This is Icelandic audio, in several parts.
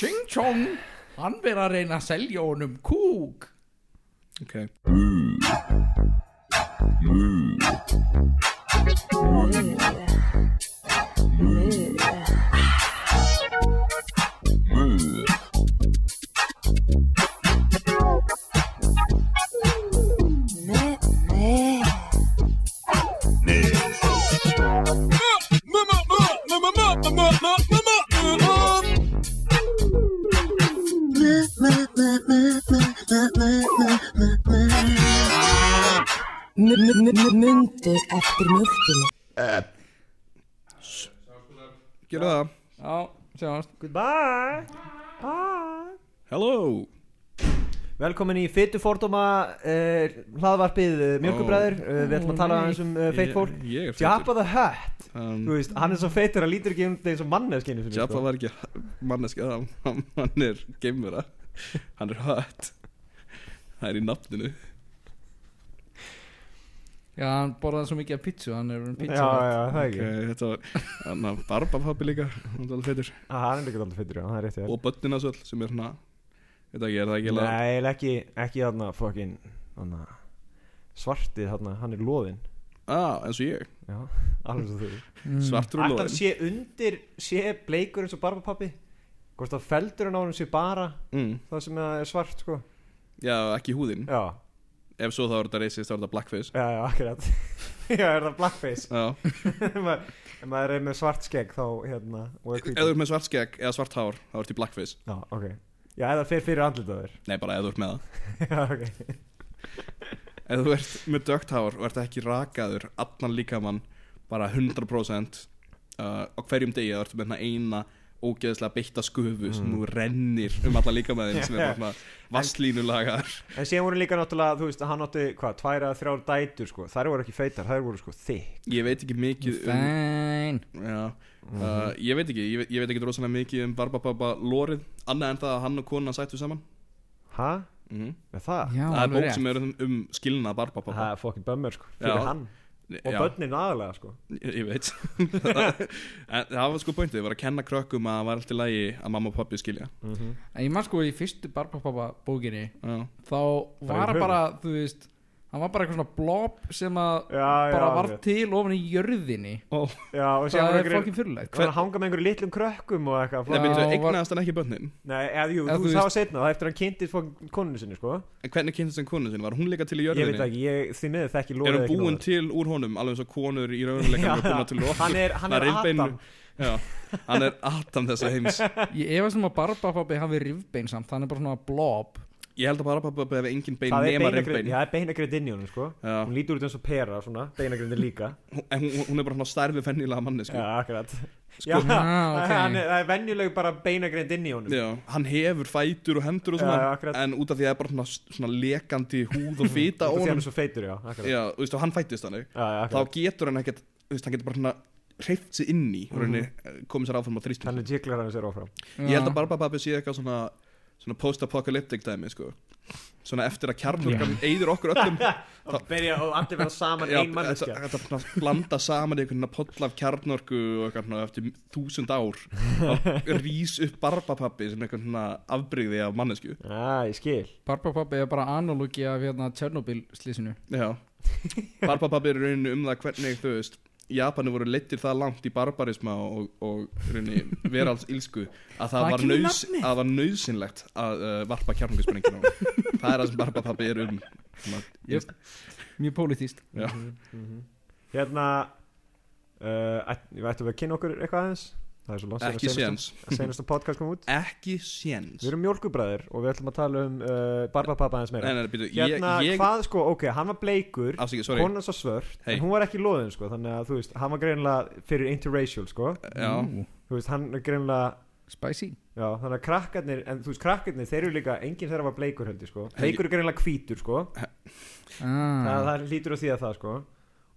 Ching Chong Hann verið að reyna að selja honum kúk ok Mundu eftir mjölkinu gera það Já, sjáast Goodbye Bye hello Velkomin í Fytu fordóma uh, hlaðvarpið uh, Mjölkubræður uh, Við ætlum að tala aðeins um uh, feitt fólk Ég- ég er feitur. Jabba the Hutt um, Þú veist, hann er svo feitur að lítur ekki um þeir sem manneskinu sinni Jabba sko. var ekki manneski hann, hann- hann er geimvera hann er hött það er í nafninu Já, hann borðaði svo mikið af pítsu Hann er um Já, pítsu já, það er Ok, ekki okay. Eh, þetta var hann að barba pappi líka hann er alveg feitur Hann er líka alltaf feitur, já, það er rétt og börnina svo sem er hana þetta ekki er það ekki eiginlega- Nei, eiginlega ekki, ekki þarna fucking þarna, Svartið þarna, hann er loðinn ah, eins og ég Já, alveg svo þau Mm, svartur og Mm. Ætlar hann lóðin sé undir, sé bleikur eins og barbapappi Hvort að feldur hann á hann sé bara mm. það sem er svart sko já ekki húðin Já, ef svo þá er þetta racist þá er þetta blackface já, já, akkurat Já, er það blackface já En maður- En maður er með svart skegg þá hérna og er ef creepy. þú ert með svart skegg eða svart hár þá ertu í blackface Já, ok Já, eða fer fyrir andlitaður nei bara ef þú ert með það Já, ok ef þú ert með dögt hár og ert ekki rakaður allan líkamann bara 100% uh, á hverjum degi þá ertu með hérna eina ógeðslega beitta skufu Mm. sem þú rennir um alla líkamæðin sem er bara vasslínulagar En síðan voru líka náttúrulega, þú veist, hann átti hvað, tvær að þrjár dætur sko Þær voru ekki feitar, þær voru sko þykk ég veit ekki mikið um Fæn Já, Mhm. uh, ég veit ekki, ég veit, ég veit ekki rosalega mikið um Barbababa lórið annað en það að hann og konan sættu saman Ha? mm Með það? Já, Það er alveg bók rétt sem er um, um skilnað Barbababa Það er fokkin bömmur sko, fyrir Já. hann Og Já, börnin aðalega sko Ég, ég veit En það var sko pointið, það var að kenna krökkum að það var allt í lagi að mamma og pappi skilja En ég man sko í fyrstu Barbapapa bókinni Já, Þá er var hann höfuð. bara, þú veist Hann var bara eitthvað svona blob sem að Já, já, bara var alveg. til ofan í jörðinni ó Já, og síðan Það voru er einhverjir- fokkin fyrirlegt Það var að hanga með einhverju litlum krökkum og eitthvað Nei, Já, byrju, var- eignaðast hann ekki börnin Nei, eða jú, Eða þú þú það var setna Það eftir að hann kynntist fokkin konunni sinni sko En hvernig kynntist hann konu sinni, var hún líka til í Ég veit jörðinni? ekki, ég, því miður þekki Er lóðið hún búin til úr honum, alveg eins og konur í raunleikanum er búin til úr Hann er, hann Það er rifbein- Adam Já, hann er Adam þessa heims Ég efast um að Barbapappi hafi rifbein samt Hann er bara svona blob Ég held að Barbababa hefði engin bein Það er nema beinagrind, reyndbein já, það er beinagrind inn í honum sko Já. Hún lítur út eins og pera svona, beinagrindin líka Hún- en hún, hún er bara svona stærfi fennilega manni Já, sko. akkurat Já, Ah, ok. hann er, það er venjuleg bara beinagrind inn í honum Já, hann hefur fætur og hendur og Já, svona já, akkurat. en út af því að það er bara svona, svona lekandi húð og fita á Og því hann honum er svo feitur, já, akkurat Já, já, þú veist, og hann fættist þannig já, þá akkurat getur hann ekkert, þú veist, hann getur bara svona hreift sig inn í og rauninni Mhm. eh, komið sér áfram á þrýstum Þannig jiklar hann sér áfram ég held að Barbapappi sé eitthvað svona, svona post-apocalyptic dæmi sko. svona eftir að kjarnorkan eyðir okkur öllum Og byrja, og allir verða saman Já, ein manneskja þetta- þetta svona blanda saman í einhvern veginn poll af kjarnorku og eitthvað svona eftir þúsund ár þá rís upp barbapappi sem einhvern svona afbrigði af mannesku Já, ég skil Barbapappi er bara analogi af hérna Tjernobyl slísinu já barbapappi er í rauninu um það hvernig þú veist Japani voru leittir það langt í barbarisma og, og í rauninni veralds ílsku að það Hvaðan var, kemur nöðs, að það var nöðsynlegt að uh, varpa kjarnorkusprengjum á það er það sem barbapappi er um svona, Jöp. Mjög pólitíst já, Mhm, Hérna uh, ætt- Við ættum við að kynna okkur eitthvað aðeins Það er svo langt ekki séns Senast að podcast kom út ekki séns Við erum mjölkubræðir og við ætlum að tala um uh, Barbapapa aðeins meira Nei, nei, býtu, Hérna, ég, ég, hvað sko, ok, hann var bleikur afsakið, sorry Konan svo svört, Hey. en hún var ekki loðin sko Þannig að þú veist, hann var greinilega fyrir interracial sko já, Ú, Þú veist, hann er greinilega Spicy Já, þannig að krakkarnir, en þú veist, krakkarnir Þeir eru líka, enginn þeirra var bleikur heldur sko Hey. Bleikur er greinilega hvítur sko það, ah, það lítur á því að það sko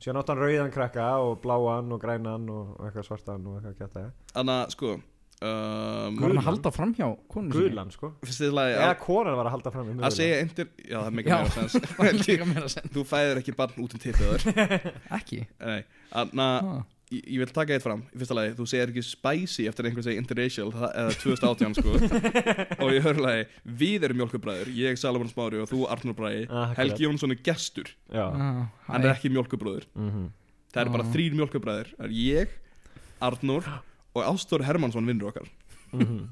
Síðan átti hann rauðan krakka og bláan og grænan og eitthvað svartan og eitthvað kjátt aðeins Þannig að sko um, Var hann að halda framhjá konu sinni? Guðlan sko Fyrst þið lagi Eða að, konan var að halda fram með að segja endur Já, það er mikið Já. meira Líka sens meira sens. Þú fæðir ekki barn út um tittið þar Ekki Nei, þannig að ah. ég, ég vil taka eitt fram í fyrsta lagi, þú segir ekki spicy eftir einhvern segir interracial það- eða 2018 sko og í öðru lagi, við erum mjölkubræður ég, Salomon Smári og þú Arnur Bræði Ah, akkurat. Helgi Jónsson er gestur, Já Ah, hann er ekki mjölkubróður Mhm. það eru bara Ah. þrýr mjölkubræður það er ég, Arnur og Ástór Hermannsson vinnur okkar Mhm.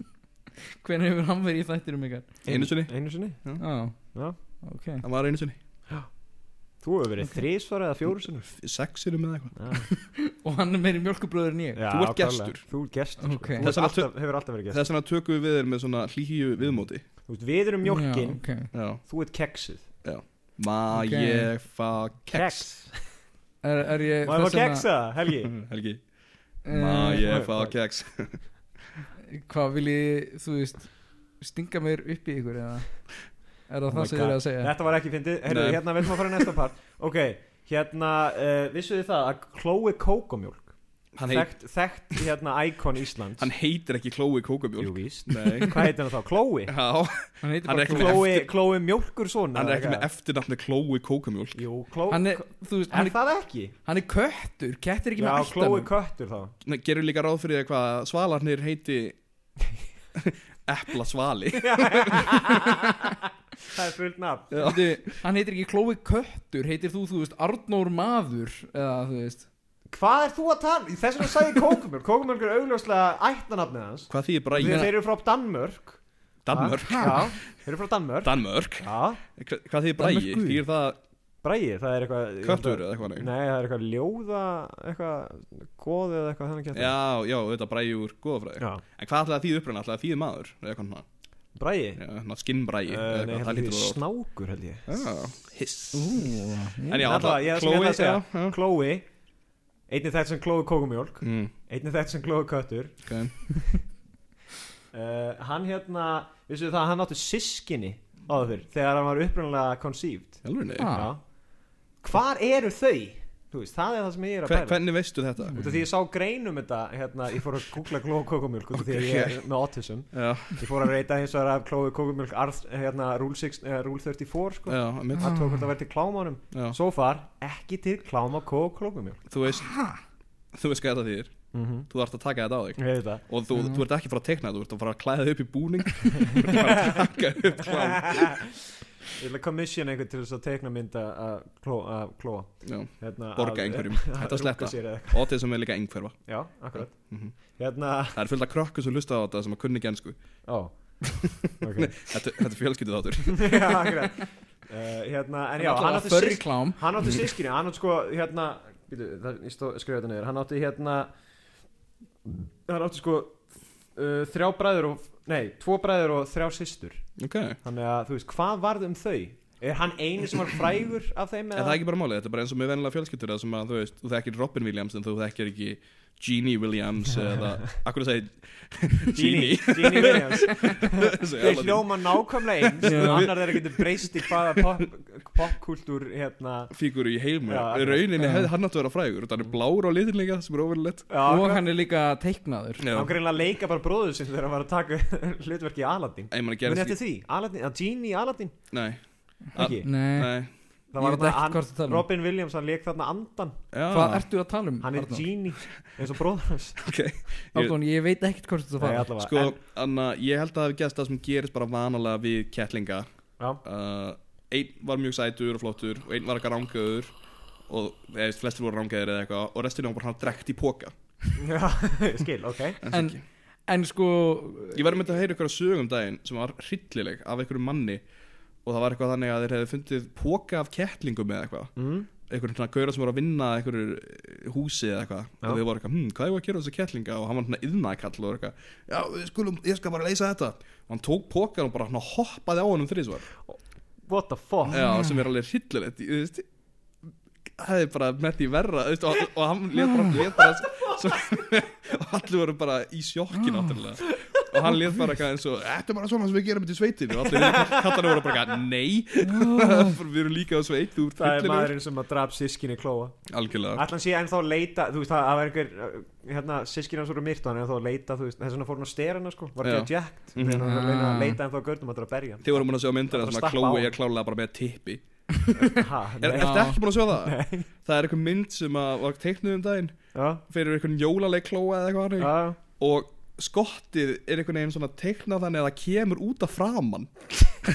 Hvernig hefur hann verið í þættinum ykkar? einu sinni, Einu sinni Já, Já. ok hann var einu sinni Þú hefur verið þrísvar eða fjóru sinni sexinum eða eitthvað Og hann er meiri mjölkubröður en ég Þú ert gestur. Þú ert gestur Ok. sko. Þú Þess ert vegna alltaf, hefur alltaf verið gestur þess vegna tökum við við þér með svona hlýju viðmóti Þú veist, Við erum mjólkin, Já, okay. já. þú ert keksið ma Ok. ég fa keks er, er ég Má ég fá þess vegna- keksa, Helgi Helgi Eh, ma ég fa fuck. keks Hvað vil ég, þú veist Stinga mér upp í ykkur eða Er það Oh það my sem þið God. eru að segja? Þetta var ekki fyndið, heyrðu, Nei. hérna velum að fara í næsta part Ok, hérna, uh, vissuðu það að Chloe Kókomjólk hann, heit, Þekkt, þekkt, hérna, íkon Íslands hann heitir ekki Chloe Jú, Kókabjól víst Nei Hvað heitir hann þá? Chloe? Já, Hann heitir Hann bara er ekki Chloe. með- Chloe, Chloe Mjólkur svona hann er ekki með eftirnafni Chloe Kókamjól Jú, Chloe Hann er, þú veist, hann er, Er það ekki? hann er köttur Kettir er ekki Já, með alltaf Chloe Köttur þá Gerur líka ráð fyrir því hvað að svalarnir heiti Epla svali Það er fullt nafn Veitu, Hann heitir ekki Chloe Köttur Heitir þú, þú veist, Arnór Maður Eða, þú veist Hvað er þú að tala? um? Þess vegna sagði Kókumjörg Kókumjörg er augljóslega ættanafnið hans Hvað þýðir Þeir, bræði? þeir eru frá Danmörk Danmörk Já, þeir eru frá Danmörk Danmörk Já, Hva- Hvað þýðir bræði? Danmörku. Þýðir það Bræði, það er eitthvað ég held köttur að- eða eitthvað nei? Nei, það er eitthvað ljóða eitthvað góð eða eitthvað þannig kjætt Já, já, þetta bræði úr góðafræði já. En hvað ætlaði að þýði uppröna? Ætlaði að þýði maður? Eða eitthvað svona- Bræði já, svona skinnbræði Eh, eða eitthvað, Nei, held það að því lítur það snákur held ég orð Hiss Ú, En já, Alla, alltaf ég- það sem ég ætla að segja. Chloe, einnig þetta sem Chloe kókumjólk mm, Einnig þetta sem Chloe köttur okay. uh, Hann hérna, vissu það, hann átti sískinni áður fyrr Þegar hann var upprunalega conceived Alveg, Ah. Já. Hvar eru þau? Þú veist, það er það sem ég er að Hver, pæla Hvernig veistu þetta? Út af því ég sá greinum þetta hérna, Ég fór að googla Chloe kókumjólk Út af því að ég er með autism Já, Ég fór að reyta hins vegar af Chloe kókumjólk arð, hérna, rule, six, uh, rule 34 sko. já, mitt Það tók hvort að vera til klámanum Ah. já. Svo far, ekki til kláma kók kókumjólk Þú veist, þú veist hvað þetta þýðir mm -hmm. Þú ert að taka þetta á þig Ég veit það Og þú, þú ert ekki að fara að tekna, þú ert að fara að klæða þig upp í búning Þú ert að fara að taka upp klám Ég vil að komissjona einhvern til þess að teikna mynda að klóa, að klóa. Já, Hérna, Borga að- einhverjum. að Þetta rúka sleppa. sér eða eitthvað. Og til sem er líka einhverfa Já, akkurat Mhm. Hérna, Það er fullt af krökkur sem lusta á þetta sem að kunni ekki ensku ó Ok Þetta, þetta er fjölskyldið þáttur Já, akkurat uh, Hérna, en já, hann átti síst Förklám Hann átti sískinu, hann átti sko hérna, býtu, það, ég stó, skrifa þetta niður Hann átti hérna Hann átti sko uh, Þrjá bræður og, nei, tvo bræður og þrjá systur Ok, er Þannig að, þú veist, hvað varð um þau? Er hann eini sem var frægur af þeim? það ekki bara málið? Þetta er bara eins og með venlega fjölskyldur það sem að þú veist, þú þekkir Robin Williams en þú þekkir ekki Genie Williams eða, akkur að segja Genie Genie Williams Þessi Þeir Aladdin. hljóma nákvæmlega eins Já. annar þeirra getur breyst í hvaða pop- popkúltúr hérna fíguru í heimur Já, akkurat. rauninni Já. hefði hann átt að vera frægur þannig er blár á litin líka sem er ofurleitt Og Já, hann er líka teiknaður hann greinlega að leika bara bróður sinni þegar hann var að taka hlutverki í Aladdin ég maður Muni gerist eftir því, Aladdin, að Genie í Aladdin ekki nei, ekki Nei, nei Það ég var veit þarna ekki hann- hvað þú talar um. Robin Williams, hann leik þarna andan já, hvað ertu að tala um? Hann er Arnór? Genie, eins og bróður hans ok ég, Arnón, ég veit ekkert hvort þetta Nei, fara allavega sko, en, Anna, ég held að það hafi gerst það sem gerist bara vanalega við kettlinga Já, uh, einn var mjög sætur og flottur og einn var eitthvað rángaður og eða, veist, flestir voru rángaður eða eitthvað og resturinn var bara hann drekt í póka Já, skil, ok En, en sko ég var með að heyra ykkur sögum daginn sem var hryllileg af einhverjum manni og það var eitthvað þannig að þeir hefði fundið póka af kettlingum eða eitthvað mm. einhverjum svona gauðra sem voru að vinna að einhverju eh, húsi eða eitthvað Já. og þau voru eitthvað, hm, hvað er að gera þessi kettlinga og hann var svona yðnaðkall og eitthvað já, við skulum, ég skal bara leysa þetta og hann tók pókan og bara svona hoppaði á honum þrísvar What the fuck já, sem er alveg hryllilegt þú veist það er bara með því verra þú veist, og, og hann let bara, let bara svo, og allir voru bara í sjokki náttúrulega og hann let bara eitthvað eins og þetta er bara svona sem við gerum þetta í sveitinu og allir kallar voru bara eitthvað, nei við erum líka á sveit, þú ert Ah. Það er hryllilegur maðurinn sem að draf sískinni klóa algjörlega, Ætlan sé ennþá að leita, þú veist, það það var einhver, uh, hérna, sískina hans voru myrt og hann er ennþá að leita, þú veist, þess vegna fór hann að stera hana, sko, var Já. ekki að jægt, þannig að hann var að leita- leita ennþá að görnum að það er að berja hann. Þið vorum búin að sjá myndina sem Bara að stappa á Chloe hann. er klálega bara með tippi Ha, Er, nei. Já. ertu ekki búin að sjá það? Nei. Það er eitthvað mynd sem að var teiknuð um daginn Já, fyrir eitthvað jólaleg klóa eða eitthvað hannig já, og skottið er einhvern veginn svona teiknað þannig að það kemur út af framann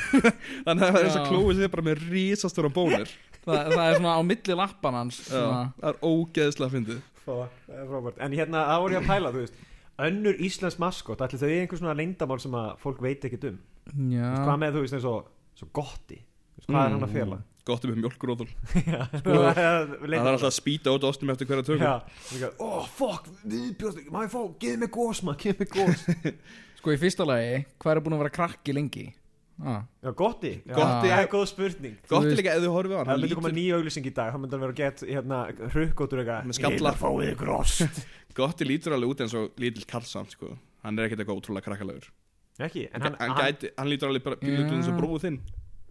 þannig að það er þess að Já. klóið sér bara með risastóra bónir það, það er svona á milli lappan hans Já, svona, það er ógeðslega fyndið Fuck, það er frábært En hérna, það voru ég að pæla, þú veist Önnur Íslands maskot, ætli þau einhvers svona leyndamál sem að fólk veit ekki um Hvað já, með þú veist eins og, svo gotti Þú veist, Hvað er hann að fela? gott um mjölkuróðul Sko, það er alltaf að spýta út ástum eftir hverja tökum Já, líka, oh fuck, við bjóðst ekki, maður fá, geð mér gós maður, geð mér gós sko í fyrsta lagi hvað er búin að vera krakki lengi ah. Já, gotti, já, Gotti það er- er góð spurning gott Þú er veist- líka ef þú horfið á hann Það hann myndi koma lítur, nýja auglýsing í dag, það myndi hann vera gett, hérna, hrukkotur eitthvað Með skalla. Hérna fáið ykkur ost gott lítur alveg út eins og lítill karlsamt sko. hann er ekkert eitthvað ótrúlega krakkalegur Ekki, en hann, hann, hann, gæti, hann lítur alveg bara pílur út eins og Já. bróðu þinn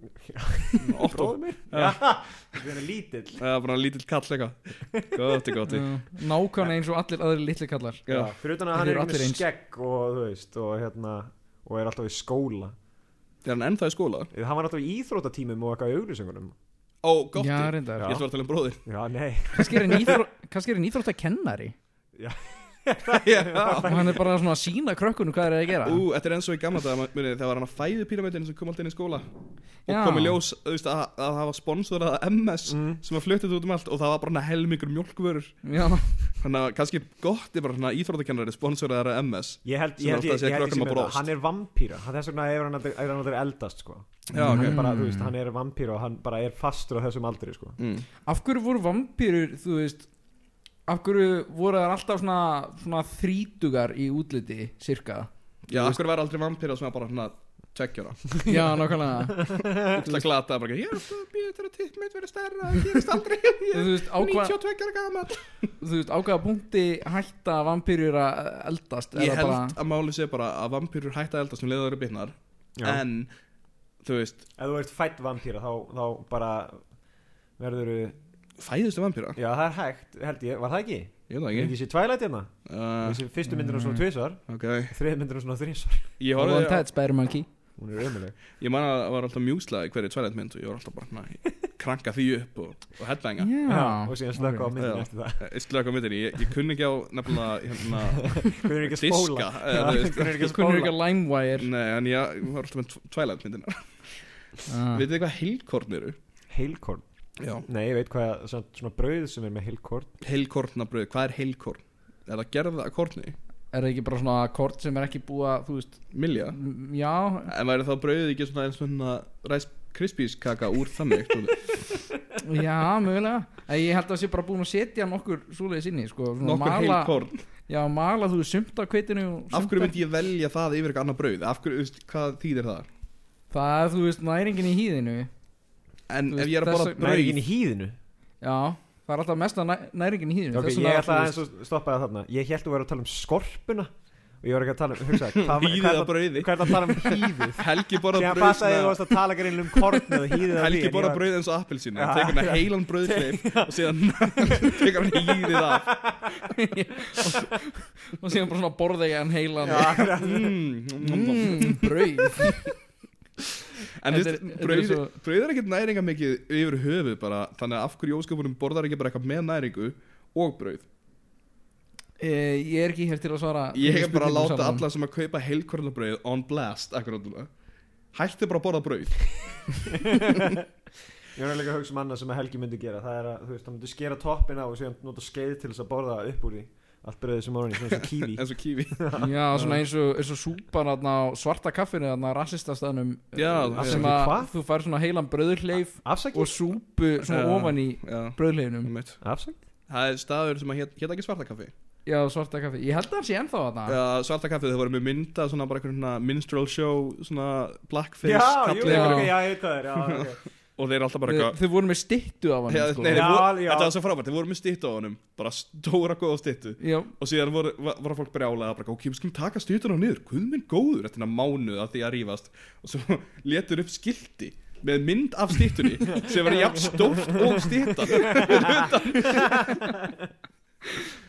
Otto. bróður mér Já, það er lítill það er bara lítill kall eitthvað gotti gotti já. nákvæmlega eins og allir aðri litli kallar Já. Já, fyrir utan Þeir að hann er eru ekki allir með eins. skegg og þú veist og hérna og er alltaf í skóla er hann ennþá í skóla? hann var alltaf í íþrótatímum og eitthvað í auglýsingunum ó gotti já, ég reyndar ætla að vera að tala um bróðir já nei kannski er hann íþró- kannski er hann íþrótt að kennari já og hann er bara svona að sína krökkunum hvað er að gera Ú, þetta er eins og í gamla dag munið, það var hann að fæðu píramidin sem kom alltaf inn í skóla og Já. Mm. kom í ljós þú veist, að, að það var sponsorað af MS sem var fluttið út um allt og það var bara hann helmingur mjölkvörur já, þannig að kannski gott er bara hann íþróttakennari sponsorað af MS ég held Sem ég held er alltaf að ég, segja ég held ég krökkum sem að er það brost. hann er vampýra Hann- þess vegna er hann aldrei- er hann aldrei eldast sko já, hann er ok bara þú veist hann er vampýra og hann bara er fastur á þessum aldri sko mm. af hverju voru vampýrur þú veist af hverju voru þær alltaf svona, svona þrítugar í útliti cirka já, af hverju var aldrei vampýra sem var bara hann að tvekkjóra já, nákvæmlega Það glata bara, ég er alltaf að býða til að tipp mitt verið stærra, það gerist aldrei, ég þú er veist, á hvað 92 ára gammal þú veist, á hvaða punkti hætta vampýrur að eldast Er Ég það held bara, að máli sé bara að vampýrur hætta að eldast um leiðar eru bitnar Já. En, þú veist, ef þú ert fætt vampýra þá, þá bara verður fæðustu vampýra? já það er hægt held ég var það ekki Ég veit það ekki ekki sé tvælæt hérna uh, þessi fyrstu myndinu svona tvisvar Ok, þriði myndinu svona þrísvar ég One horfði á, Ted Spider-Monkey hún er ömuleg ég man að það var alltaf mjúsla í hverju tvælætt mynd og ég var alltaf bara svona, kranka því upp og, og headbanga Já, og síðan slökka á ok. myndinu Já. eftir það Ég slökk á myndinni, ég, ég kunni ekki á nefnilega, hérna, Hvernig er ekki að spóla diska eða, þú veist. Hvernig er ekki Ég kunni ekki að spóla að LimeWire hérna, Nei, en ég, ég var alltaf með tvælætt myndina Ah. Vitið þið hvað heilkorn eru? Heilkorn Já Nei, ég veit hvað svona, svona brauð sem er með heilkorn heilkornabröð, hvað er heilkorn? Er það gerða að korni? Ah. Er það ekki bara svona kort sem er ekki búið að, þú veist Milja? m- Já, En væri þá brauðið ekki svona eins og svona Rice Krispies kaka úr þannig svona, já, mögulega En Ég held að sé bara búin að setja nokkur svoleiðis inni sko, svona Nokkur heilkorn Já, mala þú sumt á kveitinu Af hverju myndi ég velja það yfir eitthvað annað brauð? Af hverju, þú veist, hvað þýðir það? Það, þú veist, næringin í hýðinu En Þú ef veist, ég er að þess borða vegna Nei, brauð ekki í híðinu Já, það er alltaf mesta næ, næringin í hýðinu Ok, ég ætla aðeins að stoppa það þarna Ég held þú verið að tala um skorpuna Og ég var ekki að tala um, hugsa hvað- Hýðið hvað- af brauði. Hvað er það að tala um hýðið? Helgi borða Síðan brauð fattaði ég þú varst að tala greinlega um kornu og hýðið af því, Helgi en ég borða var- brauð eins og appelsínu Já. Það tekur hann heilan brauðkleif og síðan tekur hann hýðið af Og síðan bara svona borða ég hann heilan Já, akkurat. Mm, nom, nom. mm, Brauð En Þetta er- þú þetta veist, er brauð svo- brauð er ekkert næringa mikið yfir höfuð bara Þannig að af hverju ósköpunum borðar ekki bara eitthvað með næringu og brauð e, Ég er ekki hér til að svara Ég hef þessum bara að spurningum láta saman. alla sem að kaupa heilkornabrauð on blast akkurat núna Hætti bara að borða brauð Ég var líka að hugsa um annað sem að Helgi myndi gera Það er að, þú veist, hann myndi skera toppin á og síðan nota skeið til þess að borða upp úr því Allt brauðið sem orðin, svona svo kífi eins og kífi Já, svona eins og, eins og súpan þarna á svarta kaffinu þarna á rassistastanum Já, eh, já. sem að Hvað? þú fær svona heilan bröðurleif Afsakið? og súpu svona Já. ofan í Já, bröðurleifinum einmitt. Afsakið? Það er staður sem að hét, hét ekki svarta kaffi Já, svarta kaffi, ég held að hann sé ennþá þarna uh, Svarta kaffi þau voru með mynda svona bara einhvern svona minstrel show svona blackface Já, jú, kalli Já. ok, já, ég veit hvað það er já, ok. og þeir eru alltaf bara Þau, eitthvað þau voru með styttu af hann Já, sko. nei, þeir Já, voru- já. Þetta var svo frábært, þeir voru með styttu á honum bara stóra góða styttu Já, og síðan voru, var, var fólk brjálega bara, ok, við skulum taka stýtuna niður, guð minn góður eftir að mánuð að því að rífast og svo letur upp skilti með mynd af stýtunni sem var jafn stórt og stýtan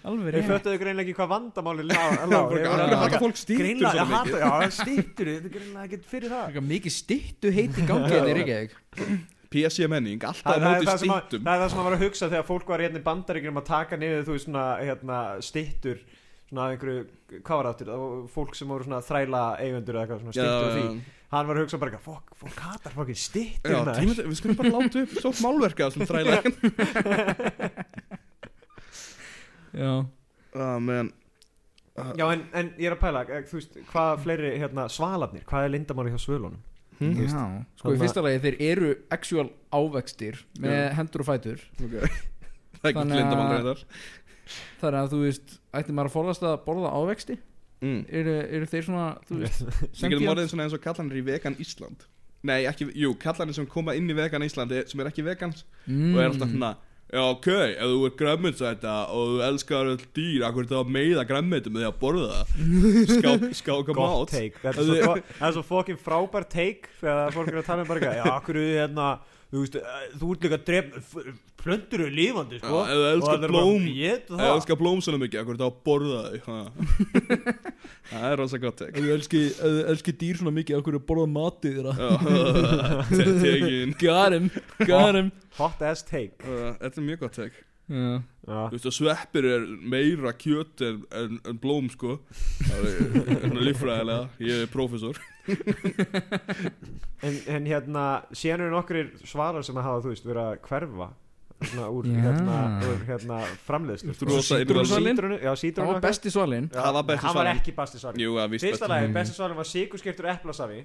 alveg Ég rétt föttuðu greinlega ekki hvað vandamáli lá, lá, ég var Akkur að- hata fólk stýtur Greinlega, svo ég mikið hata, já, stýttur Þetta er greinlega ekkert fyrir það hérna Eitthvað Mikið styttu heit í gangi en þeir ekki PC menning alltaf á Það, það, er móti það, sem að, stýttum það er það sem að var að hugsa þegar fólk var hérna í bandaríkjum að taka niður þú veist svona hérna, stittur svona af einhverju, hvað var aftur það var fólk sem voru svona þræla eigendur eða eitthvað svona stittur og því hann var að hugsa bara eitthvað, fokk, fólk hatar fokkin stittur Já, tímið, við skulum bara láta upp stórt málverka sem þræla já, ah, man, Já, en, en ég er að pæla, eh, þú veist, hvað fleiri hérna, svalarnir, hvað er lindamáli hjá svölunum? hm? veist, já. sko í þarna- fyrsta lagi þeir eru actual ávextir með Já. hendur og fætur okay. Það er ekki Þannig að- lindamál reyndar þar að þú veist, ætti maður að forðast að borða ávexti mm. eru, eru þeir svona, þú veist Við getum orðið svona eins og kallanir í vegan Ísland Nei, ekki, jú, kallanir sem koma inn í vegan Íslandi sem er ekki vegans Mm. og Mm. er alltaf svona Já, ok, ef þú er græmminsæta og þú elskar öll dýr, akkur þá að meiða græmmitum með því að borða það Skák, skáka Gott mát take, þetta er svo, gott- það er svo fokkin frábær take þegar fólk er að tala um bara eitthvað, já, akkur við hérna, þú veist, eh, þú ert líka að drepa, plöndur eru lífandi, sko. Já, ef þú elskar Og það er bara, blóm, "Étu Ef það." þú elskar blóm svona mikið, akkur þá að borða þau ha. Það er rosa gott take Ef þú elski, ef þú elski dýr svona mikið, okkur er borðað matið þeirra Já, te- Tekin Got him, got him Hot ass take. Uh, Þetta er mjög gott take já, Já. Þú veist að sveppir er meira kjöt en, en, en blóm sko Það er er líffræðilega, ég er prófessor En, en hérna, síðan eru nokkrir svarar sem að hafa, þú veist, verið að hverfa svona úr, Já. hérna, úr hérna, framleiðslu. Þú rosa Sítrónusalinn? Sítrónu, já, það sítrónu var besti svalin Já, Það var besti Hann var svarinn. ekki besti svarin. Jú, að víst Fyrsta best- lagi, Mm. besti svarin var síkurskiptur eplasafi.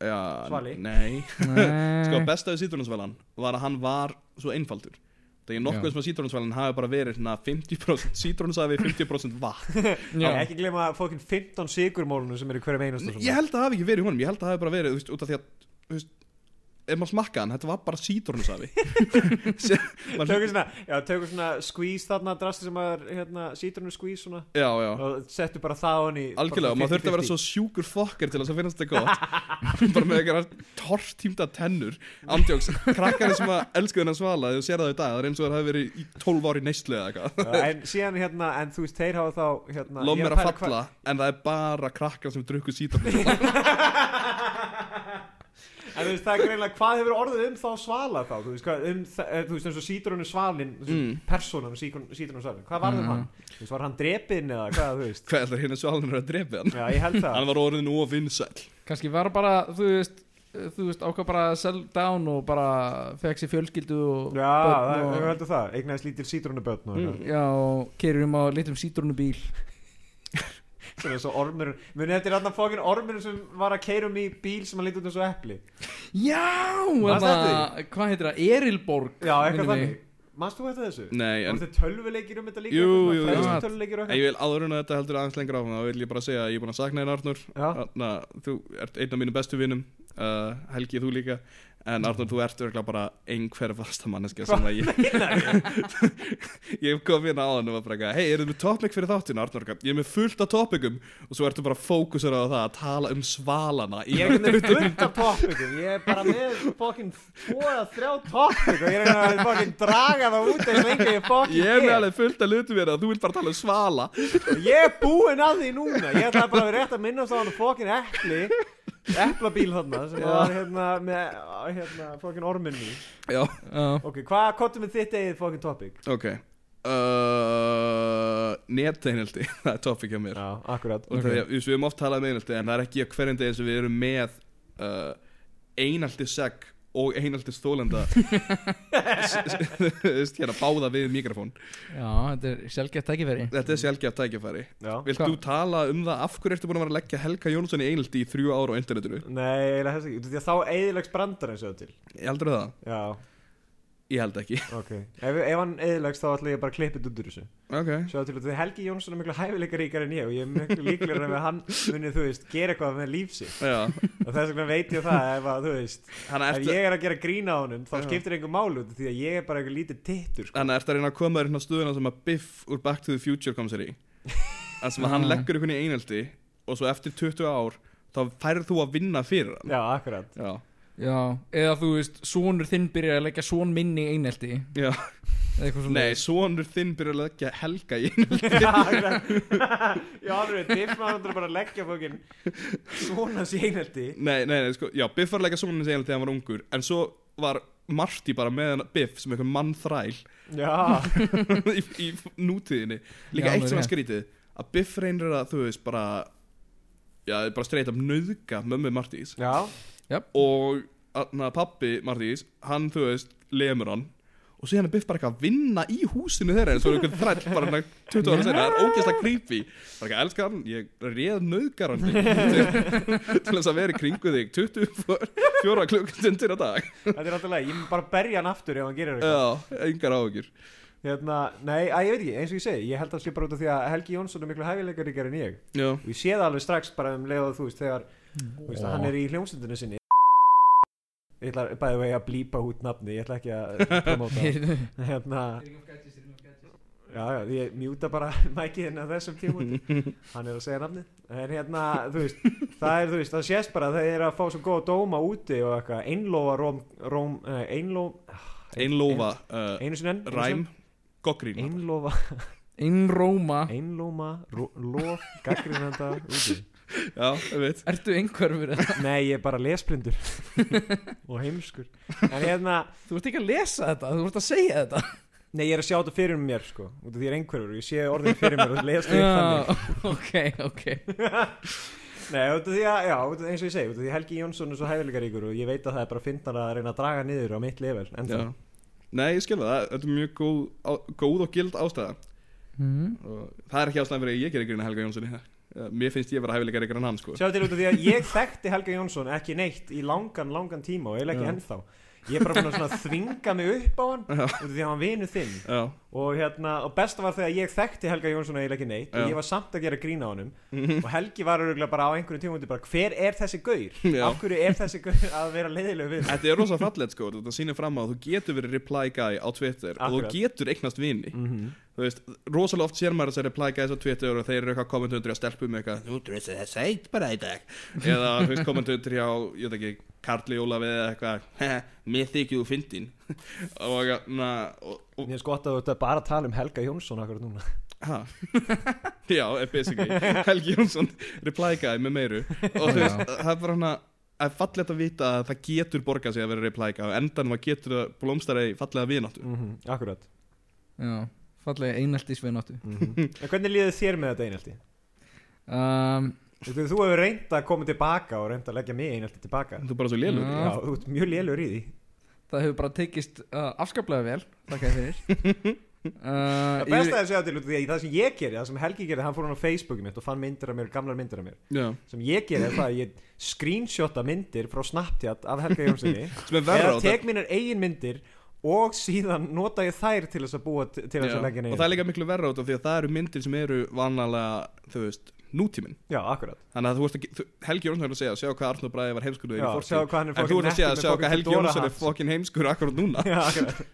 Já, Svali. Nei, sko sko besta við sítrónusvalan var að hann var svo einfaldur Það er nokkuð Já. sem að sítrónusvalan hafi bara verið svona 50% sítrónusafi, 50% vatn Já. Ekki glema fókin 15 sigurmólunum sem eru í hverjum einasta Ég held að það hafi ekki verið í honum, ég held að það hafi bara verið, þú veist, út af því að, þú veist Ef maður smakka hann, þetta var bara sítrónusafi Tökum svona, já, tökum svona squeeze þarna drasti sem er hérna, sítrunu squeeze svona Já, já og settu bara það honni Algjörlega, maður þurfti að vera svo sjúkur fokkar til þess að finnast þetta gott Bara með einhverjar tortímda tennur Andjóks, krakkari sem að elsku þennan svala Þegar þú sér það í dag, það er eins og það hafi verið í 12 ári neyslu eða eitthvað En síðan hérna, en þú veist, þeir hafa þá hérna, Lof ég er mér að pæla falla, en það er bara krakkar sem drukku sítarnir En þú veist, það er greinlega, hvað hefur orðið um þá svala þá, þú veist, hvað, um, þa- eh, þú veist, eins og sítrunu svalin, mm. Mm. persónan sítrunu svalin, hvað varð um Mhm. hann? Þú veist, var hann drepinn eða hvað, þú veist? Hvað er það hérna svalinur að drepa hann? Já, ég held það. Hann var orðin of vinsæll kannski var bara, þú veist þú veist, ákvað bara að sell down og bara fekk sér fjölskyldu og Já, það, börn ég og, heldur það, eignaðist lítil sítrunubötn og Mm. eitthvað já, keirum á litlum sítrónubíl sem er svo ormur munið þetta er alltaf fókin ormur sem var að keira um í bíl sem að lítið út eins og epli já, Manstu þarna- hvað heitir það, Erilborg já, eitthvað minnir þannig mig. mannst þú þetta þessu? Nei, voru en, þetta tölvuleikir um þetta líka? Jú, jú, jú. fræðslu tölvuleikir og en ég vil áður en að þetta heldur aðeins lengra áfram Þá vil ég bara segja að ég er búin að sakna þenn Arnur eitthvað já, Arna, þú ert einn af mínum bestu vinum uh, Helgi þú líka En Arnur, þú ert örgulega bara einhver vasta manneskja sem að ég Ég kom hérna á hann og var bara eitthvað Hei, erum við topic fyrir þáttinn, Arnur? Ég er með fullt af topicum Og svo ertu bara fókusur á það að tala um svalana í ég er ekki með fullt af toppikum ég er bara með fókin fóða þrjá toppik og ég er ekki með fókin draga það út eins lengi og ég fókin Ég er með alveg fullt að lutum hérna Þú vilt bara tala um svala og ég er búinn að því núna ég ætlaði bara að vera rétt að minna á hann fókin epli eplabíl þarna sem var hérna með hérna, fókin orminn í Já, já, ok, hvað kottum við þitt eigið fókin toppik? ok uh, Neteinildi Það er topic hjá mér Já, akkurat og það er, við höfum oft talað um einhaldi en það er ekki á hverjum degi sem við erum með uh, einhaldi seg og einhaldi stólenda hérna báða við mikrofón já, þetta er sjálfgeft tækifæri þetta er sjálfgeft tækifæri Já. Vilt Hva? þú tala um það af hverju ertu búin að vera að leggja Helga Jónsson í einhaldi í þrjú ára á internetinu? Nei, eiginlega þess ekki, því að þá eðilegs brandar eins og til Heldur það? Já, Ég held ekki ok Ef, ef hann eðilegs þá ætla ég bara að klippa þetta út úr þessu Ok Sjáðu til að því Helgi Jónsson er miklu hæfileika ríkar en ég og ég er miklu líklegur en hann munið, þú veist, gera eitthvað með líf sitt Já, og þess vegna veit ég það ef að, þú veist hann Ef ertu, ég er að gera grína á honum þá Já. skiptir einhver mál út af því að ég er bara einhver lítið tittur sko. hann ertu að reyna að koma þér hérna stöðuna sem að Biff úr Back to the Future kom sér í Það sem að hann Ah. leggur einhvern í einhaldi og svo eftir 20 ár þá færð þú að vinna fyrir hann Já, akkurat Já, já, eða þú veist, sonur þinn byrjar að leggja son minni í einelti já eða eitthvað svona Nei, sonur þinn byrjar að leggja helga í einu Já, akkurat Já, alveg, diffmaður bara að leggja fókin svona síneldi Nei, nei, nei, sko, já, Biff var að leggja sonur þinn í einu þegar hann var ungur En svo var Marty bara með hennar Biff sem einhvern mann þræl Já, í, í nútíðinni líka Já, eitt alveg sem er rétt. skrítið að Biff reynir að þú veist bara já, bara streit af nöðga mömmu Martís já, og na, pappi Martís hann þú veist, lemur hann og síðan er Biff bara eitthvað að vinna í húsinu þeirra eins og einhvern þræll bara hérna hann 20 ára senna, það er ógeðslega creepy bara eitthvað, elskar hann, ég réð nöðgar hann til, til þess að vera í kringu þig 24 klukkustundir á dag þetta er alltaf leið Ég mun bara berja hann aftur ef hann gerir eitthvað já, engar áhugjur hérna, Nei, að, ég veit ekki, eins og ég segi Ég held að sé bara út af því að Helgi Jónsson er miklu hæfileikaríkar en ég já, Og ég sé það alveg strax bara um leiðað þú veist Þegar þú veist, hann er í hljómsundinu sinni Ég ætla bæði vegi að blípa út nafni Ég ætla ekki að promóta það. hérna, Já, já, ég mjúta bara mækiðin að þessum tímúti Hann er að segja nafnið En hérna, þú veist, það er, þú veist, það sést bara að Þeir eru að fá svo góða dóma úti og eitthvað Einlóa róm, róm eh, einló, einlófa uh, Einu sinni enn ræm goggrín Einlófa, Ah. Einróma einlóma, ró- lof, gaggrinanda úti já, ég veit Ertu einhverfur? eða? Nei, ég er bara lesblindur Og heimskur En hérna, Þú ert ekki að lesa þetta, þú ert að segja þetta nei, ég er að sjá þetta fyrir mér, sko Út af því ég er einhverfur, ég sé orðin fyrir mér og les þetta þannig Já, ok, ok Nei, út af því að, já, út af- eins og ég segi, út af því Helgi Jónsson er svo hæfileikaríkur og ég veit að það er bara að finna hann að reyna að draga niður á mitt level, en Já. Nei, ég skil það, þetta er mjög góð, á, góð og gild ástæða mm. og það er ekki ástæðan fyrir að ég gerir grunna Helga Jónssoni Eh, mér finnst ég vera hæfileikar ykkur en hann sko. Sjá til út af því að ég þekkti Helga Jónsson ekki neitt í langan, langan tíma og eiginlega Já. ekki ennþá. Ég er bara búin að svona þvinga mig upp á hann, Já. út af því að hann vinu þinn. Já, Og hérna, og besta var þegar ég þekkti Helga Jónsson eiginlega ekki neitt Já. Mhm. og ég var samt að gera grína á honum og Helgi var öruglega bara á einhverju tíma bara, hver er þessi gaur? Já. Af hverju er þessi gaur að vera leiðilegu við? mig?" þetta er rosa fallet sko, þetta sýnir fram á að þú getur verið reply guy á Twitter og þú Akkurat. Mm. getur eignast vini Mhm. þú veist, rosalega oft sér maður þessar reply guys á Twitter og þeir eru eitthvað kommentundur að stelpu með eitthvað þú dressið það sætt bara í dag eða þú veist, kommentundur hjá, ég veit ekki Karli Ólafi eða eitthvað "Haha, mér þykir þú fyndin og, na, og, og Mér er skott að þú ert að bara tala um Helga Jónsson akkur núna. Ha? Já, eh, basically Helgi Jónsson reply guy með meiru og þú veist, það er bara hana það er fallegt að vita að það getur borgað sig að vera reply guy og endan maður getur að blómstara í fallega vináttu Mm Akkurat. Já, fallega eineltis við náttu En hvernig líðið þér með þetta einhaldi? um, Þú, þú hefur reynd að koma tilbaka og reynd að leggja mig einhaldi tilbaka Þú er bara svo lélur Já. Já, þú ert mjög lélur í því Það hefur bara tekist uh, afskaplega vel Takk að fyrir uh, Það besta er að segja til út af því að það sem ég gerði, það sem Helgi gerði, hann fór hann á Facebooki mitt og fann myndir af mér, gamlar myndir af mér Já. sem ég gerði er það að ég screenshota myndir frá Snapchat af Helga Jónssoni sem er verra á eða þetta- tek mínar eigin myndir og síðan nota ég þær til þess að búa til til þess Já. að leggja og neginn það er líka miklu verra á þetta því að það eru myndir sem eru vanalega þú veist, nútíminn Já, akkurat þannig að þú veist að þú- Helgi Jónsson er að segja sjá hvað Arnur Bræði var heimskur Já, sjá hvað hann en er þú fucking ert að segja nettur sjá hvað Helgi með fucking fedora Jónsson er hats." fokkin heimskur akkurat núna Já, akkurat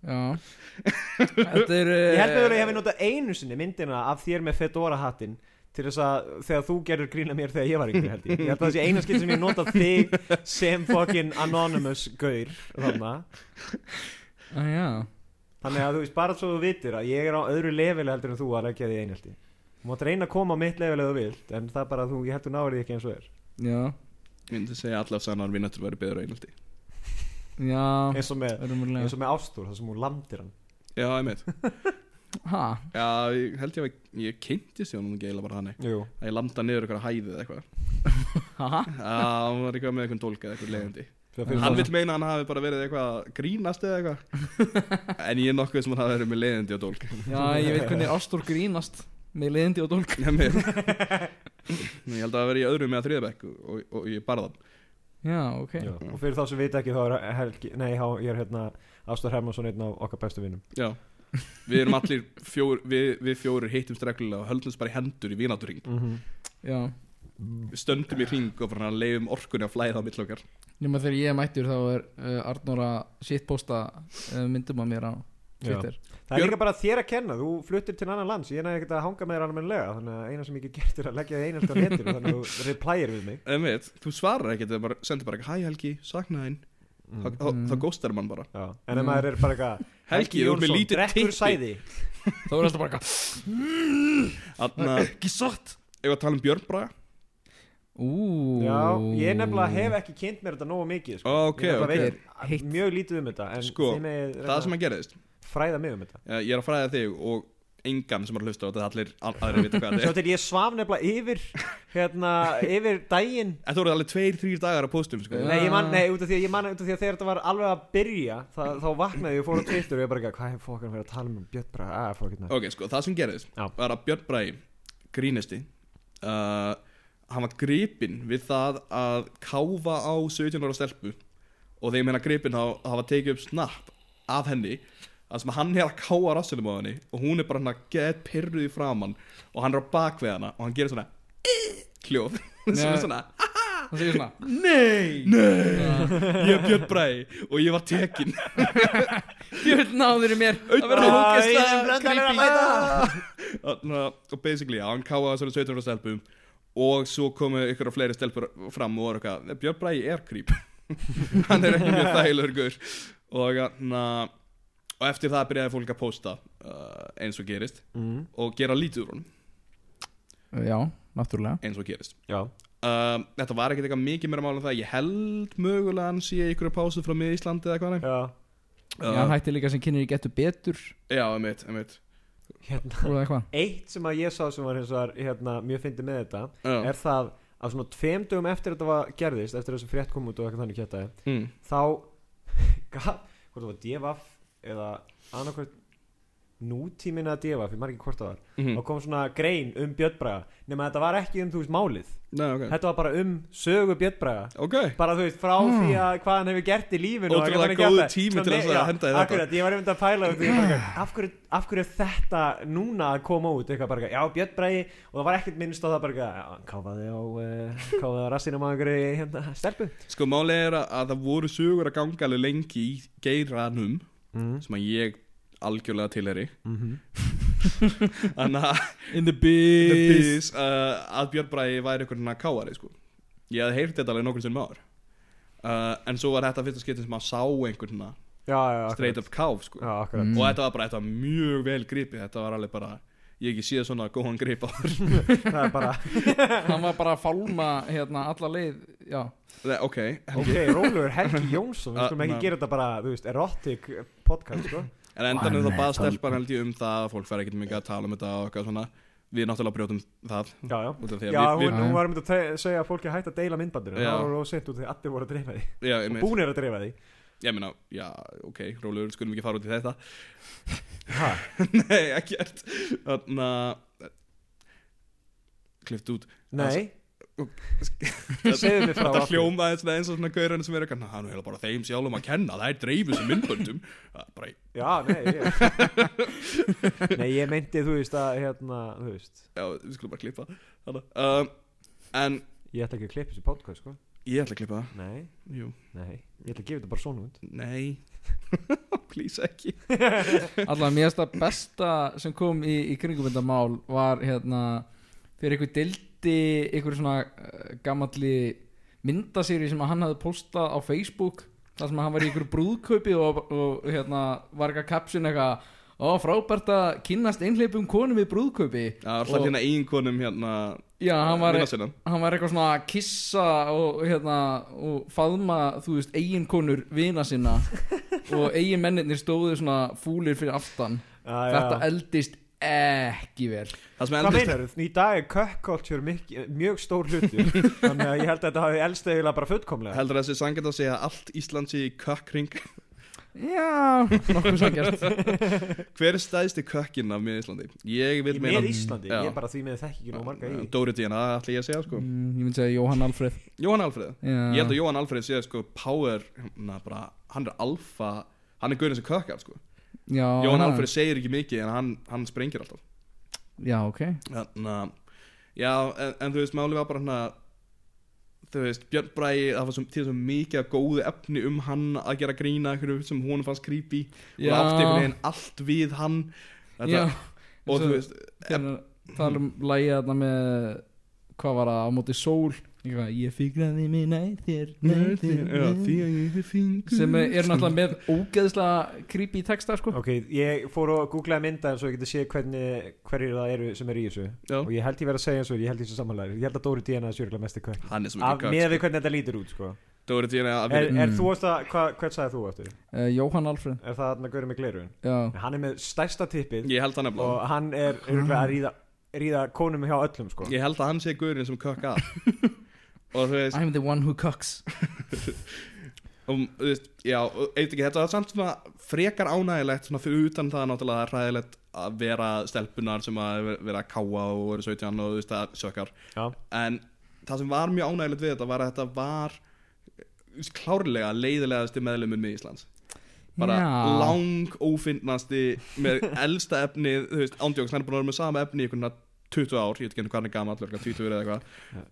Já Þetta er Ég held að ég hefði notað einu sinni myndina af þér með Fedora hattin til þess að þegar þú gerur grína mér þegar ég var yngri held ég ég held að það sé eina skilt sem ég notað þig sem fucking anonymous gaur þarna uh, Já þannig að þú veist bara svo þú vitir að ég er á öðru leveli heldur en þú að leggja því einhaldi þú mátt reyna að koma á mitt leveli ef þú vilt en það er bara að þú, ég held þú náður því ekki eins og er Já ég myndi segja allaf sannar vináttur væri beður einhaldi Já eins og með, Örmulega eins og með ástúr það sem hún landir hann Já, ég Ha, Já, ég held ég að ég kynntist ég honum geila bara þannig Jú. að ég landa niður ykkur að hæðið eða eitthvað ha, ha Já, hún var eitthvað með eitthvað dólka eða eitthvað leiðandi Fyrir- Já. fyrir Hann það- vil meina að hann hafi bara verið eitthvað að grínast eða eitthvað En ég er nokkuð sem hann hafi verið með leiðandi og dólk Já, ég veit hvernig Ástór grínast Með leiðindi og dólk Ég með- Ég held að það verið í öðrum með að þriðabæk og, og, og ég barða Já, ok Já. og fyrir þá sem vita ekki þá er Helgi, nei, há- ég er hérna Ástúr Hermansson einn af okkar bestu vinnum Já, við erum allir fjór, við, við fjórir hittum streglulega og höldumst bara í hendur í vinátturing mm -hmm. Já Við stöndum í ring og bara leifum orkunni að flæða á milli okkar Nýma þegar ég er mættur þá er uh, Arnór að shitposta uh, myndum að mér á Twitter Það er Björn- líka bara þér að kenna, þú fluttir til annan lands, ég næði ekkert að hanga með þér almenlega, þannig að eina sem ég get gert er að leggja þig einhvert á netinu, þannig að þú replyir við mig. En veit, þú svarar ekkert eða bara sendir bara eitthvað Hæ Helgi, sakna þín Þá- þá- Mm. Þá góstar mann bara Já. En ef maður er bara eitthvað, Helgi, þú ert með lítið drekkur typpi. sæði. Þá er alltaf bara eitthvað Anna, Ekki satt Ef að tala um Björn Braga Ú, Já, ég nefnilega hef ekki kynnt mér þetta nógu mikið sko. Ok, Ég nefnilega ok. veit Hitt. Mjög lítið um þetta En Sko, þið megið það sem reyna að gerðist að fræða mig um þetta eh, ég er að fræða þig og engan sem er að hlusta á þetta allir að- aðrir vita hvað Svo þetta er til ég svaf nefnilega yfir Hérna, yfir daginn Þetta voru alveg tveir, þrýr dagar að postum sko. Nei, ég man, nei, út af því að ég man út af því að þegar þetta var alveg að byrja það, Þá vaknaði ég og fór á Twitter og ég bara ekki Hvað er fokkan fyrir að tala um Björn Braga? Ah, fokkan Ok, sko, það sem gerðist Já. var að Björn Bræði, grínisti uh, hann var gripinn við það að káfa á 17 ára stelpu og þegar ég meina gripinn þá hafa tekið upp snapp af henni að sem hann er að káa rassinum á henni og hún er bara hann að get pyrruð í framann og hann er á bak við hana og hann gerir svona hljóð sem Nei. er svona Það segir svona Nei, Nei. ég er Björn Bræði og ég var tekin Björn náður í mér Það verður Æ, ógeðslega ég blöndaði að creepy. mæta. Þarna, og basically, já, hann káði þessari 17 ára stelpum og svo komu ykkur og fleiri stelpur fram og voru eitthvað, Björn Bræði er creep hann er ekki mjög þægilegur gaur og na, og eftir það byrjaði fólk að posta uh, eins og gerist Mm, og gera lítið úr honum Eh, Já, náttúrulega eins og gerist Já, uh, þetta var ekkert eitthvað mikið meira mála en það ég held mögulega hann sé ykkur að pásu frá mið Íslandi eða hvað nei. já Já, hann uh, hætti líka sem kynir í getur betur já, emitt, emitt Hérna og eitthvað Eitt sem að ég sá sem var hins vegar hérna, mjög fyndið með þetta já, er það að svona tveim dögum eftir þetta var gerðist eftir þess að frétt kom út og eitthvað þannig kjötaði mm, þá gaf, hvort það var devaf eða annarkvært nútímin að devaf, ég maður ekki hvort það var mm, þá kom svona grein um Björnbraga nema þetta var ekki um þú veist málið nei, ok, þetta var bara um sögu Björnbraga okay. bara þú veist frá því að hvað hann hefur gert í lífinu og Hmm. Ótrúlega eitthvað þannig góður kjaftæði. tími Svo til nei- þess að já, henda í þetta. akkurat, ég var einmitt að pæla því, ég bara, eitthvað, af, hverju, af hverju er þetta núna að koma út eitthvað bara, eitthvað, já Björn Bragi og það var ekkert minnst á það bara, eitthvað, já, hann káfaði á uh, káfaði á rassinum á einhverju hérna, stelpu Sko málið er að, að það voru sögur að ganga alveg lengi í geiranum Mhm. sem að ég algjörlega tilheri Þannig að In the the biz biz, uh, að Björn Bræði væri einhvern veginn að káari sko. Ég hafði heyrt þetta alveg nokkur sem maður uh, En svo var þetta fyrsta skiptin sem maður sá einhvern veginn já, já, akkurat. straight up káf sko. já, Mm. akkurat Og þetta var bara þetta var mjög vel gripið Þetta var alveg bara, ég hef ekki séð svona góðan grip á þér það er bara, Hann var bara að fálma hérna alla leið Já, Nei, Ok, ok, Rólur Helgi Jónsson við Ah, skulum ekki na. gera þetta bara, þú veist, erotic podcast, sko En endanum þá baða stelpan held ég um það að fólk fær ekkert mikið að tala um þetta og eitthvað svona Við náttúrulega brjótum það já, já út af því að Já, við, hún, við, hún var um að te- segja að fólki hætti að deila myndbandir Já. Það var og sent út því að allir voru að dreifa því já, ég, meina, Búnir að dreifa því ég meina, já, ok, rólegur, skulum ekki fara út í þetta ha, Nei, ekkert Þannig að Klift út Nei, Þetta- segðu mér frá Þetta af því. hljómaði svona eins og svona gaurinn sem er eitthvað "Na, Það er nú heila bara þeim sjálfum að kenna, það er dreifu sem myndböndum Það er bara, Já, nei ég. Nei, ég meinti, þú veist að hérna, þú veist já, við skulum bara klippa Þannig að um, En Ég ætla ekki að klippa þessu podcast, sko ég ætla að klippa það. Nei, Jú, nei, ég ætla að gefa þetta bara svona út nei Please ekki allavega mér finnst það besta sem kom í, í kringumindamál var hérna fyrir ykkur dildi ykkur svona uh, gamalli myndasýri sem að hann hafði postað á Facebook þar sem að hann var í ykkur brúðkaupi og, og hérna var eitthvað kapsin eitthvað Ó, frábært að kynnast einhleipum konum við brúðkaupi Það var alltaf Og- hérna eiginkonum hérna Já, hann var, vina sinna. hann var eitthvað svona að kissa og, hérna, og faðma, þú veist, eiginkonur vina sinna og eiginmennirnir stóðu svona fúlir fyrir aftan ah, Þetta eldist ekki vel Það sem Hvað eldist meinar þú? Í dag er kökkultúr mjög stór hlutur Þannig að ég held að þetta hafi elst eiginlega bara fullkomlega Heldur þessi sangið að segja að allt Ísland sé í kökkring Já, nokkuð sangjast Hver er stæðsti kökkinn af miða Íslandi? Ég vil Í meina með Íslandi, Já. ég bara því með þekki ekki nú marga í Dóri Díana, það ætla ég að segja sko mm, Ég myndi segja Jóhann Alfreð Jóhann Alfreð Já. Ég held að Jóhann Alfreð sé sko power na, bara, Hann er alfa Hann er gaurinn sem kökkar sko Já, Jóhann hann- Alfreð segir ekki mikið en hann, hann sprengir alltaf Já, ok Þannig að Já, en, en þú veist, máli var bara hann að Þú veist, Björn Bræði Það var svo, til svo mikið af góðu efni um hann Að gera grína einhverju sem hún fannst creepy Og Já. það átti einhvern veginn allt við hann Þetta, Já, Og Svo- þú veist, Það er um lægið þarna með Hvað var það, á móti sól eitthvað, ég fíklaði mig nær þér nær þér, Já, nær því þér að ég hef fingur sem er náttúrulega með ógeðslega creepy texta sko Ok, ég fór og googlaði mynda eins og ég geti séð hvernig, hverjir það eru sem eru í þessu Já. og ég held ég verið að segja eins og ég held ég sem samanlega ég held að Dóri Díana er sjörglega mest í kvöld Hann er svo af mikið með gagn við hvernig þetta lítur út sko. Dóri hérna, Díana að er, við er Mm. þú ást að, hva, hvern sagði þú eftir? uh, Jóhann Alfred er það hann að gauri með glerun? já, hann er með stærsta tippið Ég held hann er blá og hann er örugglega að ríða, ríða konum hjá öllum sko. Ég held að hann sé guðurinn sem kökk að Og þú veist, I'm the one who cooks um, þú veist Já, og eitthvað ekki Þetta er samt svona frekar ánægilegt Svona fyrir utan það náttúrulega Það er hræðilegt að vera stelpunar Sem að ver- vera að káa og eru 17 Og þú veist, það sökkar Já. En það sem var mjög ánægilegt við þetta Var að þetta var þú veist, klárlega leiðilegasti meðlumur með Íslands bara Já. lang ófinnasti með elsta efni þú veist, ándjóks, hann er búin að vera með sama efni í einhverjum 20 ár, ég veit ekki hvernig hvað hann er gamall örugglega 20 eða eitthvað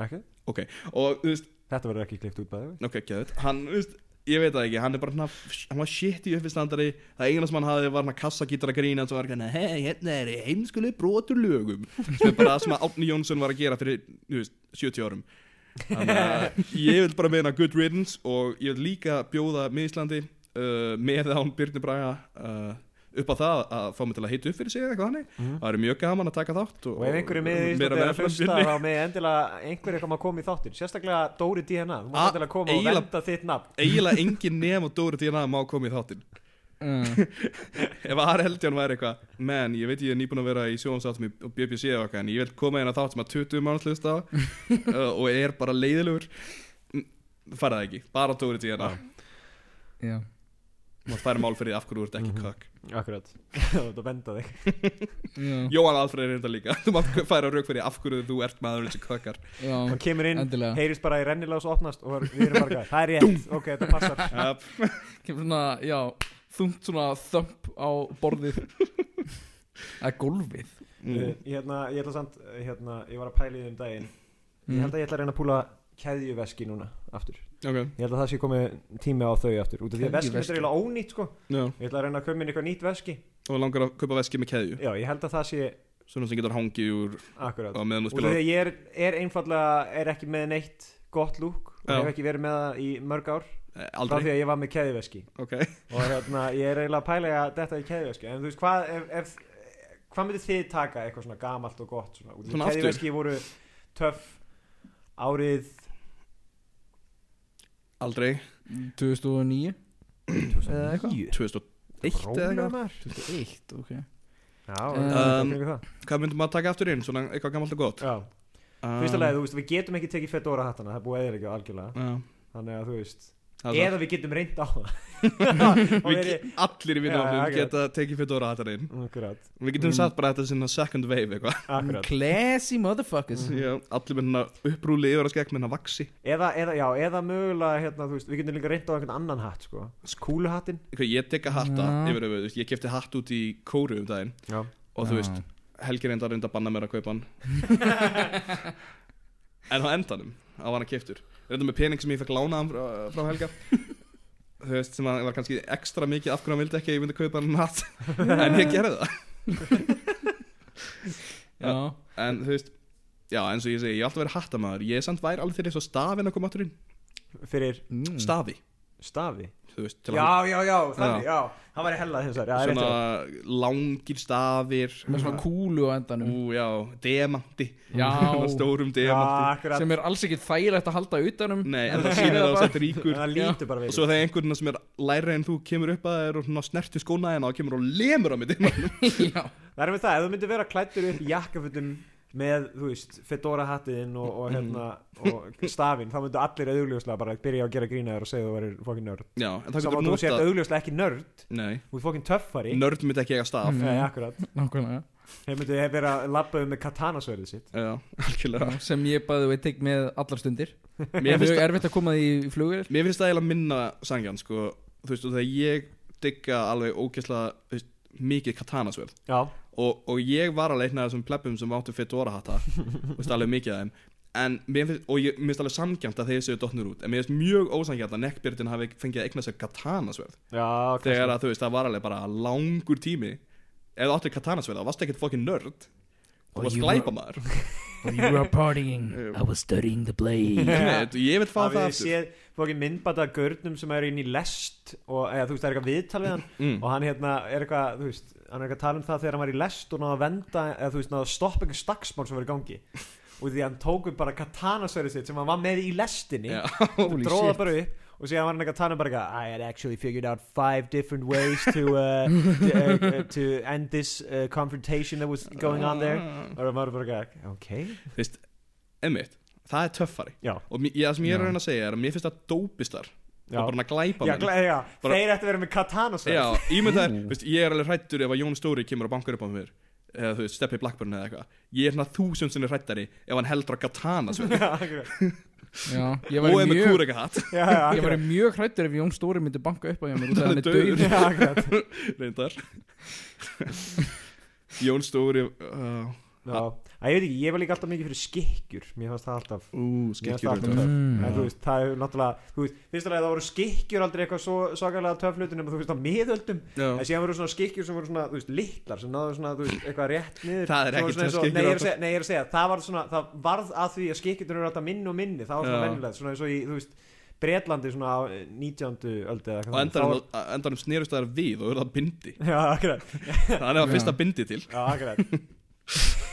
Ekki? ok, og þú veist, þetta verður ekki klikt út bæði ok, geðut hann, þú veist, ég veit það ekki, hann er bara hana, hann var shit í uppistandari, það eina sem hann hafði var hann að kassagítar að grína en svo var hann að hei, hérna er heimskuleg brotur lögum sem er bara það sem að Átni Jónsson var að gera fyrir, þú veist, 70 árum þannig að ég vil bara meina good riddance og ég vil líka bjóða miðislandi uh, með án Birni Braga uh, upp á það að fá mig til að heita upp fyrir sig eða eitthvað hannig, það eru mjög gaman að taka þátt Mhm. og ef einhverju með því meira þetta er að meðfram hlusta Birni. þá með endilega einhverju koma að koma í þáttin sérstaklega Dóri DNA þú Ah, mátt endilega koma og eiginlega- venda þitt nafn eiginlega engin nefn og Dóri Díana má koma í þáttinn uh, ef Arheldján væri eitthvað menn, ég veit ég er nýbúin að vera í sjónsáttum í- á BBC eða eitthvað, en ég vil koma hérna þátt sem að 20 manns hlusta á uh, og er bara leiðilegur Mm, fara það ekki, bara Dóri Díana já maður færi mál fyrir því af hverju þú ert ekki kökk akkurat þú ert að venda þig Já, Jóhann Alfred er þetta líka þú maður færi að rauk fyrir því af hverju þú ert maðurinn sem kökkar já, hann kemur inn endilega heyrist bara í rennilás opnast og við erum bara það er rétt ok þetta passar uh, kemur svona, já, þungt svona þömp á borðið að gólfið mm. Eh, hérna, ég ætla samt eh, hérna, ég var að pæla í því um daginn ég held að ég ætla að reyna að púla keðjuveski núna aftur ok, ég held að það sé komið tími á þau aftur út af því að veski Keðjuveski. þetta er eiginlega ónýtt sko já ég ætla að reyna að koma inn eitthvað nýtt veski og langar að kaupa veski með keðju já ég held að það sé svona sem getur hangið úr akkurat á meðan þú út af því spilar að ég er, er einfallega er ekki með neitt gott lúk og Já. hef ekki verið með það í mörg ár Eh, frá því aldrei, að ég var með keðjuveski ok og hérna ég er eiginlega að pæla í að þetta í keðjuveski en þú veist hvað ef, ef, hvað myndi þið taka eitthvað svona gamalt og gott svona, Út af því Svona aftur? keðjuveski voru töff árið aldrei, 2009 eða eitthvað 2001 eða sko, Rólegur eitthvað maður. 2001, ok Já, Um, það er það. hvað myndum maður taka aftur inn, svona eitthvað gammalt og gott Já, fyrsta um, lagi, þú veist, við getum ekki tekið fedora hattana, það er búið eða ekki algjörlega Ah, Já, Þannig að þú veist, það er eða við getum reynd á það Og Við, allir verið- í Já, já, vinnaflum akkurat. geta tekið fedora hattar inn Akkurat, Við getum Mm. sagt bara þetta sinna second wave eitthvað akkurat Classy motherfuckers Já, Allir með hérna upprúli yfir að skekk með hérna vaksi Eða, eða, já, eða mögulega, hérna, þú veist, við getum líka reynd á einhvern annan hatt, sko Skúluhattinn Eitthvað, Ég teka hatta Já. yfir yfir, þú veist, ég kefti hatt út í kóru um daginn Já Og þú veist, Helgi reynda að reynda að banna mér að kaupa hann En á endanum, á hann að keftur Reynda með pening sem ég fekk lánaðan frá, frá Helga Þú veist, sem að var kannski ekstra mikið af hverju hann vildi ekki að ég myndi kaupa hann hatt En ég gerði það já, En þú veist, já, eins og ég segi, ég hef alltaf verið hattamæður Ég er samt væri alveg til þess að stafin að koma áttur inn Fyrir mm. Stafi, stafi þú veist, til að Já, já, já, þannig, já Það var hella þessar, já, svona rétt langir stafir með svona kúlu á endanum Ú, já, demanti Já. Svona Stórum Já, demanti akkurat, sem er alls ekki þægilegt að halda um. utanum Nei, en það sýnir það á sett ríkur það lítur bara Og við svo þegar einhvern sem er læri en þú kemur upp að þér og svona snertu skóna hérna og kemur og lemur á mig demanti já, Það er með það, ef þú myndir vera klættur upp í jakkafutum með, þú veist, fedora hattiðinn og, og hérna, og stafinn þá myndu allir augljóslega bara byrja að gera grínaður og segja þú verður fokkin nörd Já, en það Saman getur þú sért notað augljóslega ekki nörd, Nei, þú er fokkin töffari nörd mitt ekki eiga staf Nei, akkurat nákvæmlega Þeir myndu hef verið að labba um með katanasverðið sitt Já, algjörlega Já, sem ég bæði veit ekki með allar stundir Mér finnst mjög erfitt að koma því í flugvél Mér finnst það eiginlega minna sangjan sko, þú veist, og þegar ég digga alveg ógeðslega þú veist, mikið katanasverð Já, og, og ég var alveg einn af þessum pleppum sem áttu fedora hatta, þú veist, alveg mikið af þeim en mér finnst, og ég mér finnst alveg samgjönd að þeir séu dottnur út, en mér finnst mjög ósangjönd að nekkbyrtin hafi fengið að eigna sér katanasverð já, þegar að þú veist, það var alveg bara langur tími ef þú áttu katanasverð, það varst ekkert fokkin nörd þú varst ég var- glæpamaður you were partying Eh, I was studying the play Nei, ég vil fá það Hafið þið aftur séð fókin myndbata af görnum sem er inn í lest og eða, þú veist, það er eitthvað viðtal við hann mm. og hann hérna er eitthvað, þú veist hann er eitthvað að tala um það þegar hann var í lest og náða að venda eða þú veist, náða að stoppa einhver staksmál sem var í gangi og því að hann tók upp bara katanasverið sitt sem hann var með í lestinni Já, holy dróða shit. bara upp og síðan var hann eitthvað að tala um bara eitthvað I had actually figured out five different ways to, uh, to, uh, to end this uh, confrontation that was going on there og hann var bara eitthvað, ok Þú veist, emmitt, það er töffari já, og mér- ég- það sem ég er Já. að reyna að segja er að mér finnst það dópistar og já, bara hann að glæpa já, glæ- já. Bara- þeir ættu að vera með katanasverið Já, ímyndaðir, Mm. veist, ég er alveg hrættur ef að Jón Stóri kemur og bankar upp á mér eða þú veist, steppi Blackburn eða eitthvað ég er hérna þúsund sinni hrættari ef hann heldur að katana sveið Já, akkurat. Já, ég og var ef með mjög kúrega hatt já, já, Ég akkurat. var mjög hrættur ef Jón Stóri myndi banka upp á hjá mér út af Hann hann er er dauður já, akkurat. reyndar Jón Stóri uh, Já. Æ, ég veit ekki, ég var líka alltaf mikið fyrir skikkjur mér fannst það alltaf ú, Mér skekkjur fannst það reyndar. alltaf Mm. En þú veist, það er náttúrulega þú veist, fyrst alveg það voru skikkjur aldrei eitthvað svo sakalega töflutin nema þú veist á miðöldum en Já. síðan voru svona skikkjur sem voru svona, þú veist, litlar sem náðu svona, þú veist, eitthvað rétt niður Það er Svo voru ekki töff skikkjur svona eins og- Nei, ég er að segja, nei, ég er að segja, það varð svona það varð að því að skikkjurnar eru alltaf minni og minni það var svona Já. venjulega, svona eins og í, þú veist Bretlandi svona á eh, 19. öldi eða og eitthvað þannig. endanum, endanum snerust það um við og eru það bindi Þá- Já, akkurat það er Já. það fyrsta bindi til Já, akkurat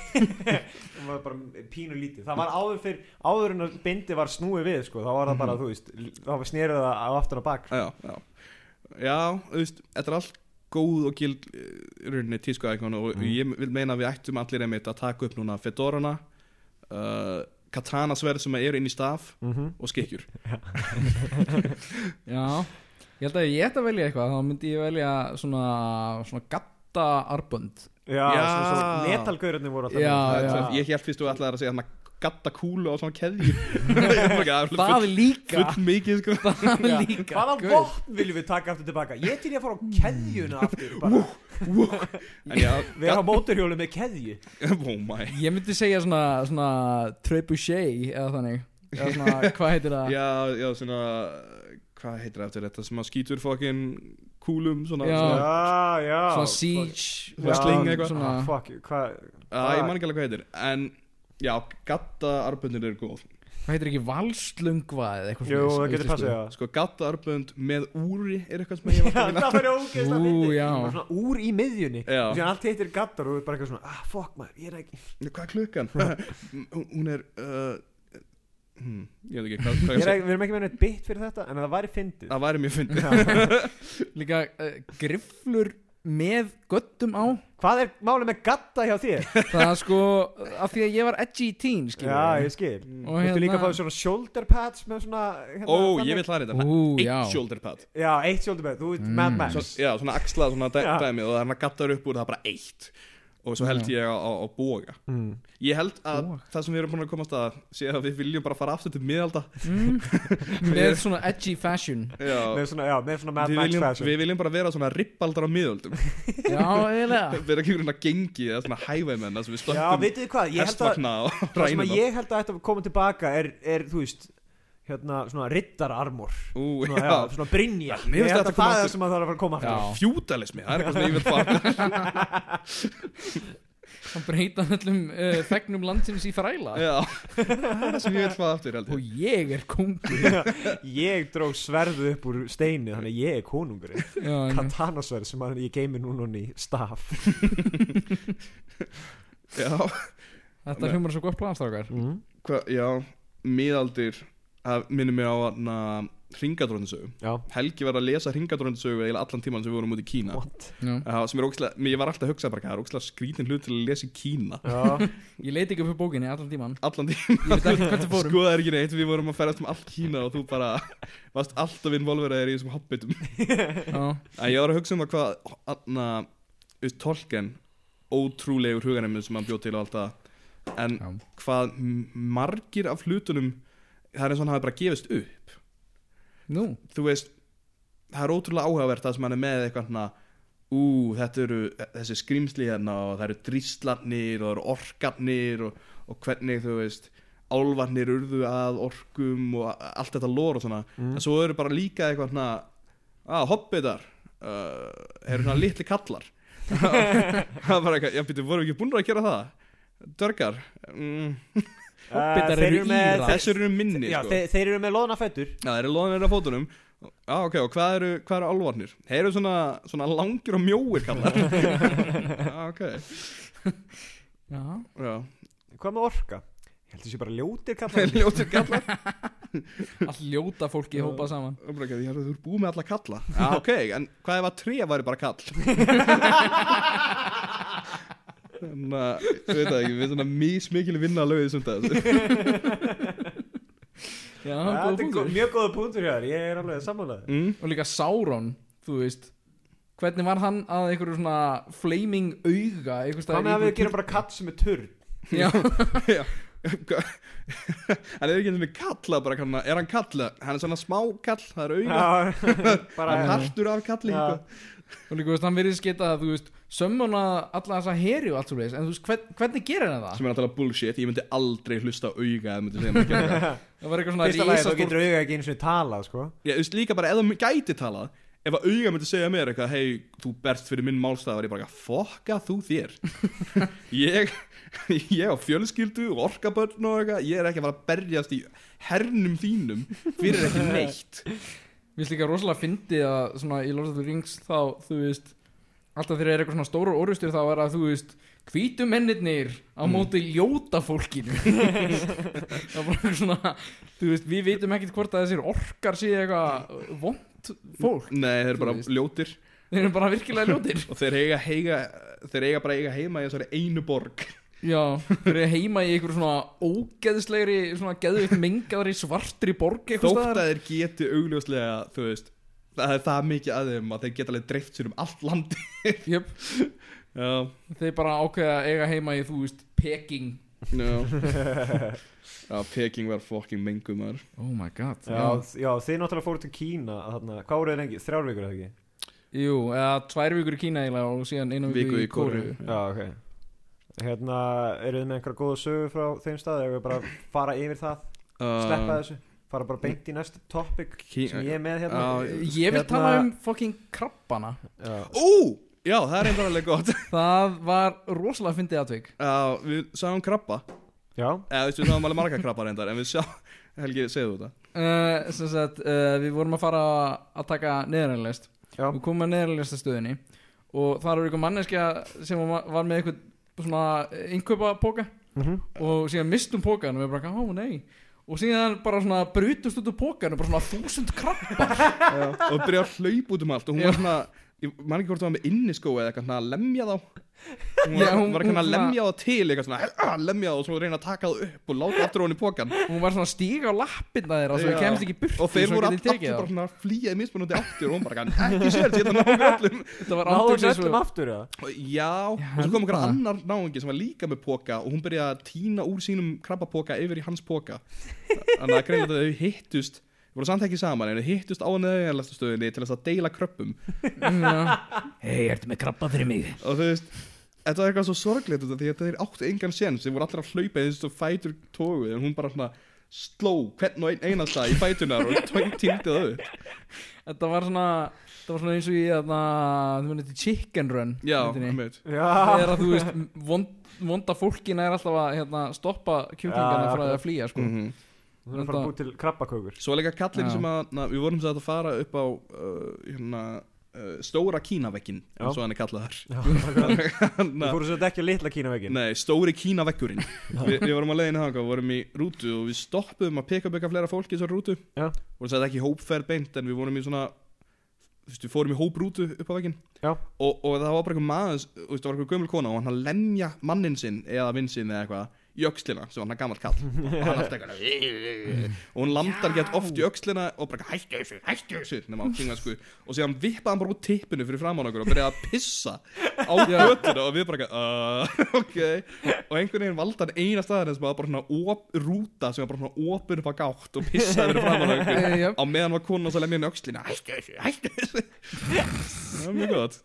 Það var bara pínu lítið Það var áður fyrr, áður en að bindi var snúið við sko, þá var það Mhm. bara, þú veist þá var snerið það á aftur og bak sko. já, já. já, þú veist, þetta er allt góð og gild eh, rauninni tísku íkon og Mm. ég vil meina að við ættum allir einmitt að taka upp núna fedorana uh, katanasverð sem eru inn í staf Mhm. og skekkjur Já, ég held að ef ég ætti að velja eitthvað þá myndi ég velja svona, svona gatta arbönd Já, Já. svona svo metalgaurarnir voru alltaf Já, með já. þetta. ég held fyrst þú ætlaðir að segja hann að gatta kúlu á svona keðjur Ég er bara ekki, það Það er líka full mikið sko Það Já. líka Hvaða Guð. vopn viljum við taka aftur tilbaka? Ég til ég að fara á keðjuna aftur bara, en já, vera á móturhjólu með keðju oh my Ég myndi segja svona, svona trebuchet eða þannig eða svona, hvað heitir það já, já, svona hvað heitir það eftir þetta sem að skýtur fokkin kúlum svona, Já. svona Já, já Svona siege Já. Wrestling eitthvað. svona, ah, Fuck, hvað að Ah. ég man ekki alveg hvað heitir en já, gatta arbundin eru góð Hvað heitir ekki valslungva eða eitthvað Jú, svoleiðis á það getur íslensku? passið, já sko gatta arbund með úri er eitthvað sem ég Já, var að finna það fyrir ógeðslega Ú, fyndið. já. Bara svona Úr í miðjunni Já. Og síðan allt hitt er gattar og þú ert bara eitthvað svona Ah, fuck maður, ég er ekki hvað er klukkan? hún hún er uh, hmm, ég veit ekki hvað, hvað Ég ég er segi ekki, við erum ekki með neitt bytt fyrir þetta en það væri fyndið það væri mjög fyndið Líka uh, grifflur með göttum á Hvað er málið með gatta hjá þér? Það er sko, af því að ég var edgy teen skilur Já, við. ég skil Og Þú ertu líka að hérna- fá svona shoulder pads með svona hérna, ó, þannig- ég vil hlaða þetta Ú, eitt já. shoulder pad Já, eitt shoulder pad, þú ert Mad Max Mm. Svo, já, svona axlað svona dæ, Já. dæmi og það er hann að gattar upp úr það er bara eitt og svo held ég á, á, á boga mm. ég held að Boga. það sem við erum búin að komast að sé að við viljum bara fara aftur til miðalda mm, Með svona edgy fashion já, með, svona, já, með svona Mad við, Max viljum, fashion við viljum bara vera svona rippaldar á miðöldum Já, eiginlega vera ekki verið að gengi eða svona hævæmenn það sem við Já, stöndum veitu þið hvað, ég held að hestvagna og Það sem rænum að ég held að ætti að koma tilbaka er, er þú veist, hérna, svona riddararmor Ú, Svona, já, já, svona brinja mér Ég finnst held þetta að koma það er aftur. það sem að það er að fara að koma aftur Já, fjúdalismi það er eitthvað sem ég vil fara að breyta öllum uh, fegnum landsins í þræla já, það er það sem ég vil fara aftur held Og ég ég er kongur ég dró sverðu upp úr steini þannig að ég er konungurinn Já, einmitt. katanasverð sem að ég geimi núna í staff já, Þetta hljómar svo gott planstrákar mm. hva, já, miðaldir það minnir mér á hana ringadrónusögu já, Helgi var að lesa ringadrónusögu eða allan tíman sem við vorum út í Kína what Já. uh, sem er ókslega, ég var alltaf að hugsa bara hvað er ókslega skrítin hlut til að lesa í Kína já, Ég leiti ekki upp fyrir bókinni allan tíman allan tíman Ég veit ekki hvert við fórum sko það er ekki neitt, við vorum að ferðast um allt Kína og þú bara varst alltaf involveraðir í þessum hobbitum Já, En ég var að hugsa um að hvað Anna, veist, Tolkien Ótrúlegur huganæmið sem hann bjóð til og allt það En Já. hvað m- margir af hlutunum Það er eins og hann hafi bara gefist upp nú Þú veist Það er ótrúlega áhugavert það sem hann er með eitthvað hana, Ú, þetta eru þessi skrimsli hérna og það eru dríslarnir og það eru orkarnir og, og hvernig þú veist álvarnir urðu að orkum og a- allt þetta lór og svona Mm. en svo eru bara líka eitthvað svona að hobbitar uh, eru svona litli kallar það er bara eitthvað, já býttu, vorum við ekki búin að gera það Dörgar mm, Hobbitar Eh, þeir eru eru með Írar. Þessir eru minni Já, sko. þeir, þeir eru með loðna fætur Já, þeir eru loðanir af fótunum Já, ok, og hvað eru, hvað eru álvarnir? Þeir eru svona, svona langir og mjóir kallar Já, ok Já, Já, Hvað með orka? Ég held að þessi bara ljótir þeir kallar eru ljótir kallar allt ljóta fólki hópað saman Og bara, Ég er að þú er búið með alla kalla Já, ok, en hvað ef að tré væri bara kall? Þannig að, við veit það ekki, við erum svona mísmikil vinna að lögðu sem þessu Já, Ja, góða Þetta er gó- punktur mjög góða punktur hér Ég er alveg samanlega mm? Og líka Sauron, þú veist Hvernig var hann að einhverju svona flaming auga einhvers staðar Hvað með í að við einhverju gerum bara katt sem er turn Já, Já En er ekki einhvern veginn kalla bara kannan Er hann kalla? Hann er svona smá kall Það er auga Já, Hann er bara partur af kalli sko. Já. eitthvað. og líka, þú veist, hann virðist geta að, þú veist, sömmuna alla þessa heri og allt svo leiðis, en þú veist, hvern, hvernig gerir hann það? Sem er alltaf bullshit Ég myndi aldrei hlusta á auga ef myndi segja mér að gera það. Það var eitthvað svona Fyrsta lagi þá risastór- getur auðvitað ekki eins og tala sko. Ég veist líka bara Ef það gæti talað Ef að auga myndi segja mér eitthvað Hei, þú berst fyrir minn málstað Var ég bara eitthvað Fokka þú þér Ég Ég á fjölskyldu og orkabörn og eitthvað Ég er ekki að fara að berjast í hernum þínum Fyrir ekki neitt Mér finnst líka rosalega fyndið að svona í Lord of the Rings þá, þú veist alltaf þegar er eitthvað svona stóra orðustur þá er að þú veist hvítu mennirnir á móti ljóta fólkinu það er bara eitthvað svona þú veist, við vitum ekkert hvort að þessir orkar séu eitthvað vond fólk Nei, þeir eru Þú bara veist. ljótir þeir eru bara virkilega ljótir og þeir eiga, heiga, þeir eiga bara eiga heima í þessari einu borg já, þeir eru heima í einhver svona ógeðslegri, svona geðvikt mengaðri svartri borg eitthvað þótt að staðar þeir geti augljóslega þú veist, það er það mikið að þeim að þeir geta alveg dreift sér um allt landi Jöp, já, þeir bara ákveða að eiga heima í, þú veist, Peking já já, Peking var fucking mengumar oh my god já, já, þið náttúrulega fóru til Kína þarna, Hvað voru þeir lengi? Þrjár vikur eða ekki? Jú, eða tvær vikur í Kína eiginlega og síðan einu viku, viku í Kóru Já, ok Hérna, eru þið með einhverja góða sögu frá þeim stað Eða við bara að fara yfir það, uh, sleppa þessu Fara bara beint í næsta topic Kí- sem ég er með hérna Já, Ég vil Hérna- tala um fucking krabbana Já. ú, já, það er einhver alveg gott Það var rosalega fyndið atvik já, við sáum krabba Já, eða veistu, við sáum alveg marga krabba reyndar en við sjáum, Helgi, segðu þú þetta uh, Sem sagt, uh, við vorum að fara að taka neðranlist já, Við komum að neðranlista stöðinni Og það var eitthvað manneskja sem var var með eitthvað svona innkaupa póka Mhm. Og síðan mistum pókan og við bara, ó nei Og síðan bara svona brutust út úr pókan og bara svona þúsund krabbar og byrja að hlaupa út um allt og hún Já. var svona ég man ekki hvort það var með inniskó eða eitthvað svona að lemja þá hún var, Já, hún- var eitthvað hún að svona- lemja þá til eitthvað svona "Ah, lemja þá og svo reyna að taka þá upp og láta aftur á hún í pokan Og hún var svona að stíga á lappirna þeirra Svo við Já. kemst ekki í burtu og þeir svo voru getið tekið all- allir þá. bara svona að flýja í mismunandi áttir og hún bara "Kann ekki sér þetta náðu öllum Þetta var náðu átöks þessu eins öllum og aftur eða? Og já, og svo held kom einhver það. annar náungi sem var líka með poka og hún byrjaði að týna úr sínum krabbapoka yfir í hans poka þannig að greinlega að þau hittust þau voru samt ekki saman en þau hittust á neðanlæstu stöðinni til þess að deila kröppum Hei, ertu með krabba fyrir mig? og þú veist þetta var eitthvað svo sorglegt út af því að þeir áttu engan séns þeir voru allir að hlaupa eins og fætur tógu en hún bara svona sló hvern og ein, einasta í fætunar og tók týndi það upp Þetta var svona Þetta var svona eins og í þarna Þú veist, Chicken Run já, myndinni. einmitt. Já, Þegar að þú veist vond, Vonda fólkina er alltaf að hérna, stoppa Já, kjúklingana frá því að akkurat. flýja sko. Mhm. þú erum að fara að búi til krabbakökur svo var líka kallin Já. sem að na, við vorum sem sagt að fara upp á uh, hérna, uh, stóra kínavekkin Já. eins og hann er kallað þar Já, akkurat. Þú Na, fóru svo ekki að litla Kína Nei, stóri kínavekkurinn Vi, Við vorum að leiðinu þangað, vorum í rútu og við stoppuðum að peka beka fleira fólki í þessari rútu Já. vorum sætt ekki hópferð beint en við vorum í svona þú veist, við fórum í hóprútu upp á veginn Já. og, og það var bara einhver maður þú veist, það var einhver gömul kona og hann að lemja mannin sinn eða vinn sinn eða eitthvað í öxlina sem var hann að gammal kall og hann alltaf eitthvað og hún landar gett oft í öxlina og bara hættu þessu, hættu þessu nema á kinglansku og síðan vippaði hann bara út tippinu fyrir framann okkur og byrjaði að pissa á götuna og við bara eitthvað, uh, ok og einhvern veginn valda hann eina staðan sem var bara svona op, rúta sem var bara svona opur upp að gátt og pissaði fyrir framann okkur Eh, jöp. á meðan var konan að lemja hann í öxlina hættu þessu, hættu þessu það var mjög gott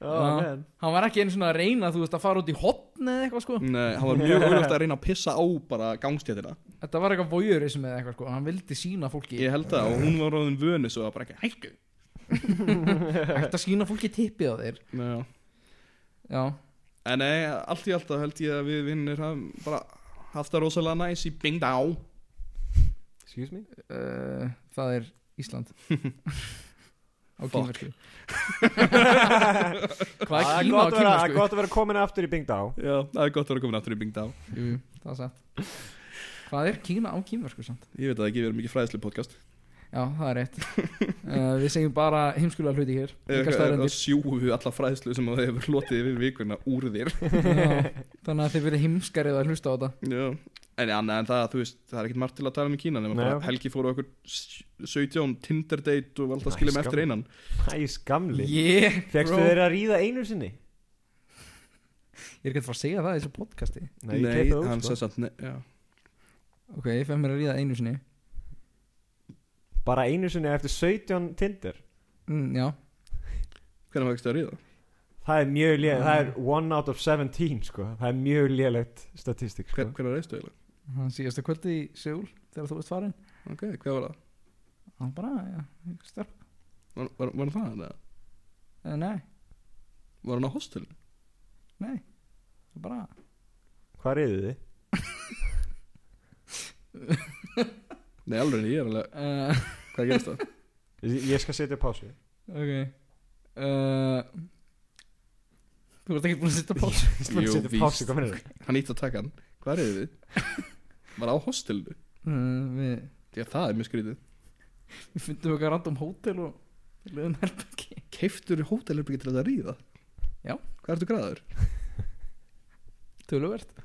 Já. veginn Hann var ekki einu svona að reyna Þú veist, að fara út í hotn eða eitthvað sko. Nei, hann var mjög auðvitað að reyna að pissa á bara gangstéttina Þetta var eitthvað voyeurism eða eitthvað sko. Hann vildi sína fólki Ég held það og hún var ráðin vönu svo að bara ekki hættu Hægt að sína fólki tippið á þeir Nei, já. Já En nei, allt í alltaf held ég að við vinnir hafum bara haft það rosalega næs í Bing Dá Excuse me uh, það er Ísland á Fuck. kínversku hvað Það er er kína sko? á gott að vera- kínversku gott að vera komin aftur í Bing Dá Já, það er gott að vera komin aftur í Bing Dá Jú, jú, það er satt hvað er kína á kínversku samt Ég veit að það ekki, við erum ekki fræðislu podcast já, það er rétt uh, við segjum bara heimskulega hluti hér engar Það staðarendir sjúum við alla fræðislu sem það hefur lotið yfir vikuna úr þér þannig að þið verið heimskarið að hlusta á þetta Já En annað en það, þú veist, það er ekkert margt til að tala um í Kína nema Nei, bara ok. Helgi fór á okkur 17 Tinder date og alltaf Æ, skiljum skam. eftir einan Æs gamli yeah, Fekstu bro. þeir að ríða einu sinni? ég er ekki að fara að segja það í þessu podcasti ég Nei, klippi það út, hann sko. sagði samt, nei, já ok, ég fæði mér að ríða einu sinni Bara einu sinni eftir 17 Tinder mm, já, Hvernig fækst það að ríða? Það er mjög lélega, það er one out of 17 sko, það er mjög lélegt statistik sko. Hver, hvernig reist eiginlega? hann síðasta kvöldi í Seúl þegar þú veist farin Ok, hvað var það? hann bara, já, einhver stelpa. Var, var, var það það? Eh, nei, Var hann á hostelinu? nei bara Hvað reyðu þið? Nei, alveg, ég er alveg, uh, hvað gerist það? Ég- Ég skal setja pásu ok uh, þú ert ekki búin að setja pásu Ég skal Jú, setja víst. pásu, hvað meinar þið? Hann ítt að taka hann, hvað er þið? Var á hostelinu? uh, við, Því að það er mjög skrítið við fundum eitthvað random hótel og lögum herbyggi Keiftur hótelherbyggi til að ríða? Já. Hvað ertu græður? töluvert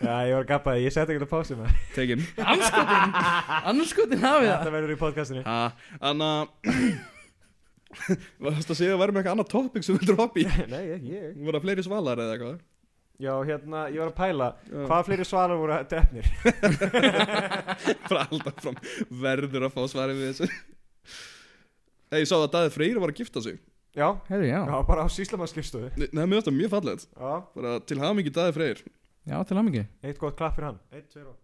Já, ég var að gappa þið, ég setja ekki pásu með Tekin anskotin, anskotin hafið það Þetta verður í podcastinu Ha, anna Varst að segja að væri með eitthvað annað topic sem við droppi Nei, ég, ég Voru það fleiri svalar eða eitthvað? Já, hérna, ég var að pæla Já. Hvaða fleiri svalar voru drefnir? Bara alltaf fram verður að fá svarið við þessu Nei, ég sá að Daði Freyr var að gifta sig Já, herru, já, já bara á síslamannskipstöðu Nei, það er mjög, mjög fallegt Já, Bara til hafa mikið Daði Freyr já, til hamingi eitt gott klapp fyrir hann Eitt, tveir og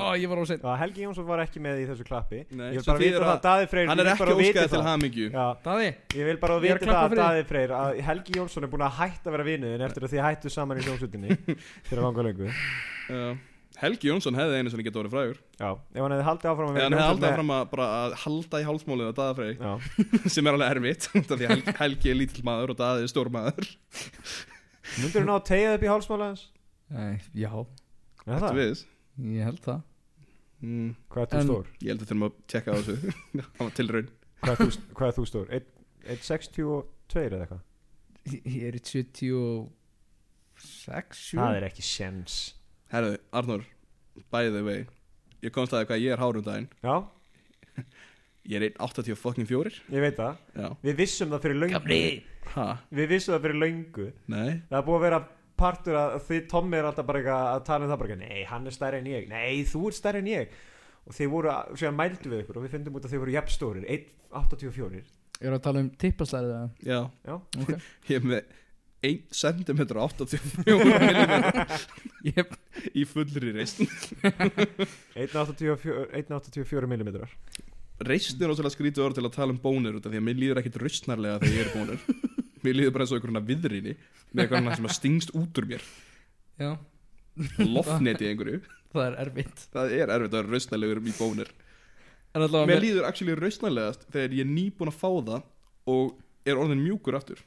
ó, ég var á sein Já, Helgi Jónsson var ekki með í þessu klappi Nei, Ég vil svo bara þýðir vita það, að- Daði Freyr Hann er ég vil ekki bara vita óskað til það. hafa mikið Já, Daði, Ég vil bara að Ég er að vita klappa það að fyrir Daði Freyr að Helgi Jónsson er búin að hætta að vera vinuðin eftir að þið hættu saman í hljómsveitinni fyrir langa löngu Já, Já. Helgi Jónsson hefði einu sem getið orðið frægur ef hann hefði haldið áfram að En vera hann hefði hljómsveit alltaf fram að, bara, að halda í hálsmólið að Daða Freyr Já, sem er alveg erfitt út af því að Helgi, Helgi er lítill maður og Daði er stór maður myndur hann á að tegja upp í hálsmála hans? Æ, já, Er Þetta það? við þess ég held það mm, Hvað er þú En- stór? Ég held að þurfum að tekka á þessu Það var tilraun Hvað er þú, hvað er þú stór? 1.62 eða eitthvað? ég ég er í 76 7 Það er ekki sjens Herðu, Arnur, by the way Ég komst að því hvað ég er hárum daginn Já, Ég er 1.84 ég veit það Já, Við vissum það fyrir löngu ha, Við vissum það fyrir löngu nei Það er búið að vera partur að því Tommi er alltaf bara eitthvað að tala um það bara eitthvað, Nei, hann er stærri en ég, nei, þú ert stærri en ég Og þeir voru, að- síðan mældu við ykkur og við fundum út að þeir voru jafnstórir 1,84 Ég er að tala um tippaslæðið eða? Já, Já, Ok. ég er með 1 cm 84 mm Jep. í fullri reist 1,84 1,84 mm Reist er ósvöld skrítið orð til að tala um bónir út af því að mér líður ekkit raustnarlega þegar ég er bónir Mér líður bara eins og einhvern veginn viðrýni með einhvern veginn sem að stingst út úr mér Já, loftneti í einhverju það er erfitt Það er erfitt að vera raustnarlegur í bónir En allavega Mér líður actually rausnarlegast þegar ég er nýbúin að fá það og er orðin mjúkur aftur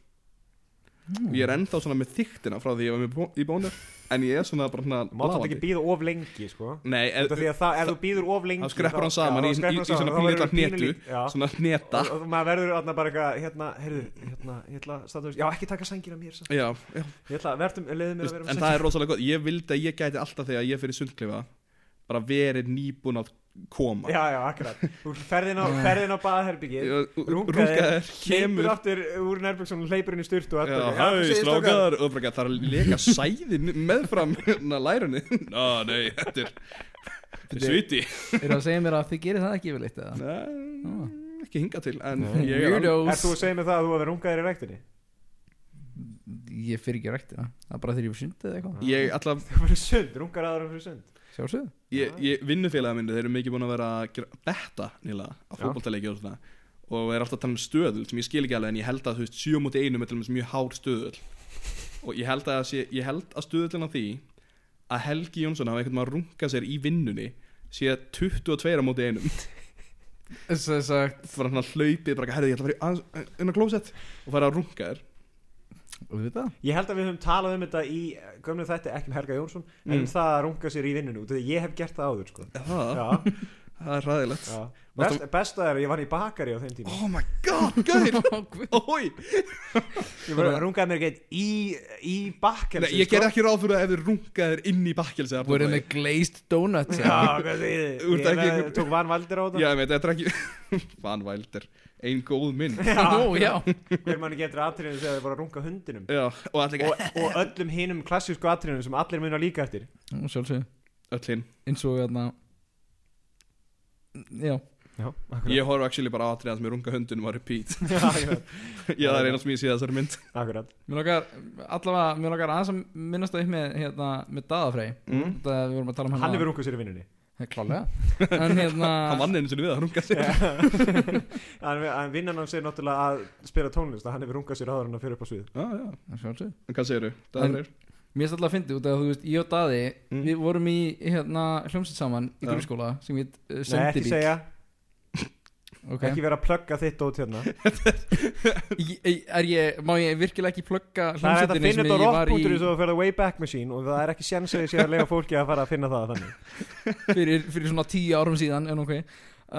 og ég er ennþá svona með þyktina frá því ég var með bó í bónir en ég er svona bara svona Máttu þetta lafandi. ekki býða of lengi, sko Nei, Út af eð, Því að það, ef þú býður of lengi þá skreppur hann þá- saman í, já, þá í, skreppur í, hann í svona saman, þá pínlita verður hnetu pínulít- Já, svona hneta og, og maður verður alltaf bara eitthvað, hérna, heyrðu, hérna, ég ætla að standa, já, ekki taka sængina mér, samt. já, já, ég ætla að verðum, leiðum mér að vera en það er rosalega gott ég vildi að ég gæti alltaf þegar ég fyrir sundklifa bara verið nýbúin að koma Já, já, akkurat Þú ferðin á, ferðin á baðherbyggið rúkaðir Leipur kemur aftur úr nærbjörnsson Leipur inn í styrtu og Já, aftur hæ, þú segir strákar. strákar og bara það er að leka sæðin meðfram hérna, lærunni Ná, nei, þetta er þetta er sviti Er það að segja mér að þið gerir það ekki yfirleitt eða? Nei, ekki hinga til en Nei. ég er alveg Ert þú að segja mig það að þú hafi rungaðir í ræktinni? Ég fyrir ekki ræktina Það er bara þegar ég sundið eða eitthvað ég alltaf, Þú fyrir sund, rungar aðra fyrir sund Sjálfsögðu ég, ég vinnufélaga minni þeir eru mikið búin að vera að gera- betta nýlega á Já. fótboltaleiki og svona og er alltaf að tala um stöðul sem ég skil ekki alveg en ég held að þú veist 7 múti 1 er til dæmis mjög hár stöðul og ég held að, það sé, ég held að stöðulina því að Helgi Jónsson hafa einhvern veginn að runga sér í vinnunni sé 22 á móti einum Þess að sagt það var hann að hlaupið bara herði ég ætla að fara í aðeins- eh, inn á klósett og fara að runga þér Ég held að við höfum talað um þetta í eh, gömlu þetta, ekki um Helga Jónsson en um Mm. það að runga sér í vinninu út af því ég hef gert það áður sko. það, já, það er ræðilegt já. Best, besta er að ég var í bakari á þeim tíma oh my god, gauðir Ói, ég bara rungaði mér ekki einn í, í bakari sko. Nei, ég ger ekki ráð fyrir að ef þið rungaðir inn í bakkelsi Voruð með glazed donuts Já, hvað segir þið? Þú ert Ég ekki meina, einhver- tók vanvaldir á Já, þetta ég veit, þetta er ekki Van Wilder, ein góð minn Ó, já Hver mann getur atriðinu þegar þið voru að runga hundinum Já, og allir og, og öllum hinum klassísku atriðinu sem allir muna líka eftir Nú, Sjálfsög öll hinn Eins og hérna Já Já, akkurat, Ég horf actually bara á atriðan sem ég runga hundunum á repeat Já, akkurat. Já, það er eina sem ég sé þessari mynd akkurat. Mér langar Allavega Mér langar aðeins að minnast það upp með Hérna Með Daðafrey Mm. Þetta við vorum að tala um Hann hefur rungað sér í vinnunni Klálega En hérna Hann vann einu sinni við að runga sér En en vinnan hans er náttúrulega að spila tónlist að hann hefur rungað sér áður en að fyrir upp á svið Já, Ah, já, Sjálfsög en hvað segirðu? Það er Mér finnst alltaf að fyndi út af að þú veist, ég og Daði Mm. Við vorum í hérna hljómsveit saman í Já. grunnskóla sem við uh, Nei, ekki sendibít segja, Ok. ekki vera að plugga þitt út hérna Ég- ég- Er ég, má ég virkilega ekki plugga Það er þetta að hljómsveitinni finna sem þetta ég á var í rockbútur eins og að ferða Wayback Machine og það er ekki séns að ég sé að lega fólki að fara að finna það þannig fyrir, fyrir svona tíu árum síðan en ok uh,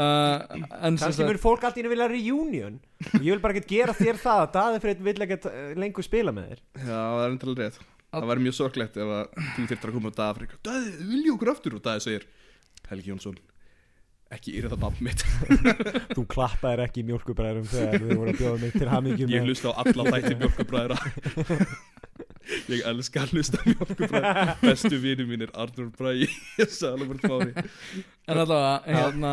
En sem Kannski sagt mun fólk allt í einu vilja reunion og ég vil bara ekki gera þér það að Daði Freyr vill ekki lengur spila með þér Já, það er endala rétt Það væri mjög sorglegt ef að þú þyrftir að koma út af Afrika Dæði, vilji okkur aftur og Dæði segir Helgi Jónsson, ekki yfir það nafn mitt Þú klappaðir ekki í mjölkubræðurum þegar þú voru að bjóða mig til hamingjum Ég hlusta á alla þætti mjölkubræðra Ég elska að hlusta á mjölkubræðra Bestu vinur mínir Arnur Bræði Salomur Fári En allavega, Já. hérna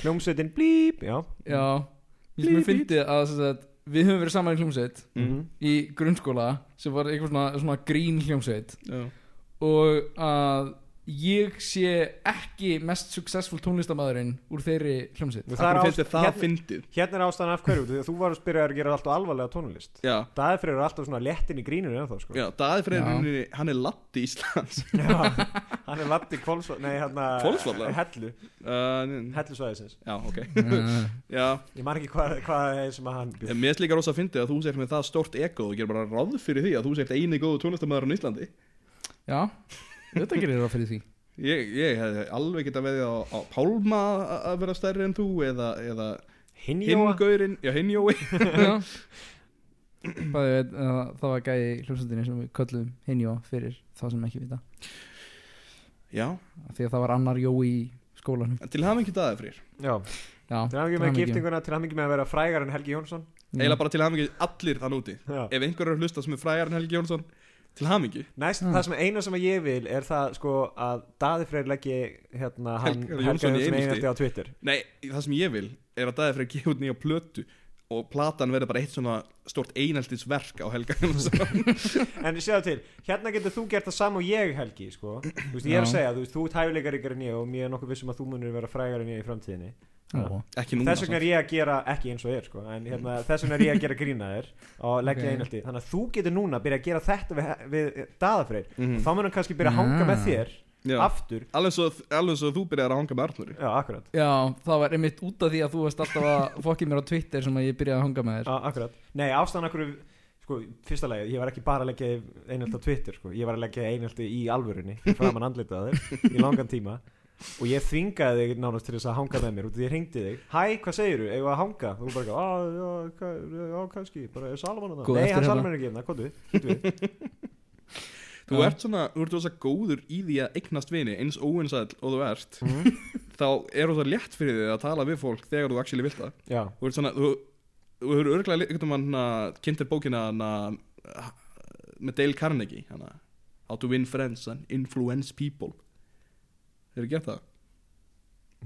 Hljómsveitin blíp, já Já, ég sem ég fyndi að sem sagt, við höfum verið saman í hljómsveit Mm. í grunnskóla sem var eitthvað svona, svona grín hljómsveit og að ég sé ekki mest successful tónlistamæðurinn úr þeirri hljómsveit Það er Það ást- finnst það hérna- fyndið Hérna er ástæðan af hverju, því að þú varst byrjaður að gera alltaf alvarlega tónlist Já, Daði Freyr er alltaf svona léttin í grínunum ennþá sko. já Daði Já. Freyrinni, hann er latt í Íslands Já, Hann er latt í Kvolsvall Nei, hann Hvolsvalla? Hellu, uh, n- hellusvæðisins Já, ok Uh, Já, Ég man ekki hvað, hvað það er sem að hann en bjó mér finnst líka rosa fyndið að þú sért með það stort ego og gerir bara ráð fyrir því að þú sért eini góðu tónlistamæðurinn í Íslandi já, þetta gerir það fyrir því Ég, ég hefði alveg geta veðið á, á Pálma að- að vera stærri en þú eða, eða Hinjóa hingaurinn, já hinjói Já. Bæði, veit, uh, það var gæði hljómsveitinni sem við köllum hinjó fyrir þá sem ekki vita Já, Af því að það var annar jói í skólanum en til hafa ekki Daði Freyr Já, Já, til hann ekki hamingju. með giftinguna, til hann ekki með að vera frægar en Helgi Jónsson Mm. eiginlega bara til hamingi allir þann úti Já. ef einhver er að hlusta sem er fræjar en Helgi Jónsson til hamingi Næst, Já. það sem eina sem ég vil er það sko að Daði Freyr leggi hérna hann Helga Helga Jónsson í Jónsson einelti. einelti á Twitter nei, það sem ég vil er að dæði fyrir að gefa út nýja plötu og platan verður bara eitt svona stort einhaldisverk á Helga Jónsson En séðu til, hérna getur þú gert það sama og ég Helgi sko Þú veist, ég er að Já. segja, þú veist, þú ert hæfileikaríkar en ég og mér er nokkuð vissum að þú munir vera frægar en ég í framtíðinni Ó, ekki núna Þess vegna er ég að gera, ekki eins og er sko en hérna, þess vegna er ég að gera grína þér og leggja Ok. okay. einhaldi, þannig að þú getur núna að byrja að gera þetta við, við daðafreyr Mhm. þá munum kannski byrja að hanga með Ja. þér já, aftur, alveg svo, alveg svo þú byrjar að hanga með Arnur já, akkurat Já, það var einmitt út af því að þú varst alltaf að fokkið mér á Twitter sem að ég byrjaði að hanga með þér Já, akkurat. Nei, ástæðan akkur sko, fyrsta lagi, ég var ekki bara að leggja einhaldi á Twitter, sko. ég var að leggja einhaldi í alvörunni, framan andlitaði þér í langan tíma og ég þvingaði þig nánast til þess að hanga með mér út af því ég hringdi þig Hæ, hvað segirðu, eigum við að hanga? Þú bara, "Á, já, ka- já, kannski, bara er Salman að Góð Nei, hann eftirherma. Salman er ekki hérna, hvað við? þú Já. ert svona, þú ert rosa góður í því að eignast vini eins óinsæll og þú ert Mhm. þá er rosa létt fyrir þig að tala við fólk þegar þú actually vilt það Já, þú ert svona þú, þú hefur örglega einhvern veginn kynntir bókina hana, uh, með Dale Carnegie hana, How to win friends and influence people hefur þið gert það?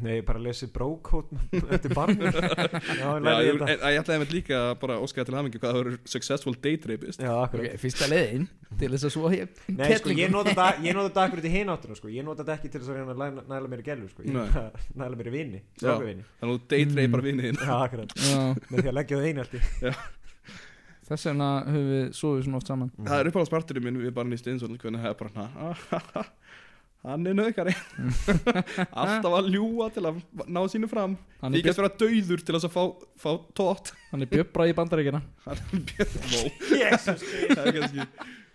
Nei, ég bara lesi brókót eftir barnum Já, ég Já, lærði ég, þetta ég, ég ætlaði með líka bara að óska til hamingi hvað það voru successful date rapist Já, akkurat okay, Fyrsta leiðin til þess að svo ég Nei, sko, ég nota þetta ég nota þetta akkurat í hináttina, sko Ég nota þetta ekki til þess að reyna að læna- næla mér í gælu, sko Ég Nei. bara næla mér í vini, strákavini Þannig að þú date Mm. rapar vinið þinn Já, akkurat Já, Með því að leggja það einhaldi Þess vegna höfum við sofið svona oft saman Mm. Það er uppáhaldsparturinn minn við bara nýst eins og hvernig það er bara hana Hann er nöðgari Alltaf að ljúa til að ná sínu fram Hann er Líka að vera dauður til þess að fá, fá tótt Björn- hann er bjöbra í bandaríkina Hann er björn Vó, Jesus, það er kannski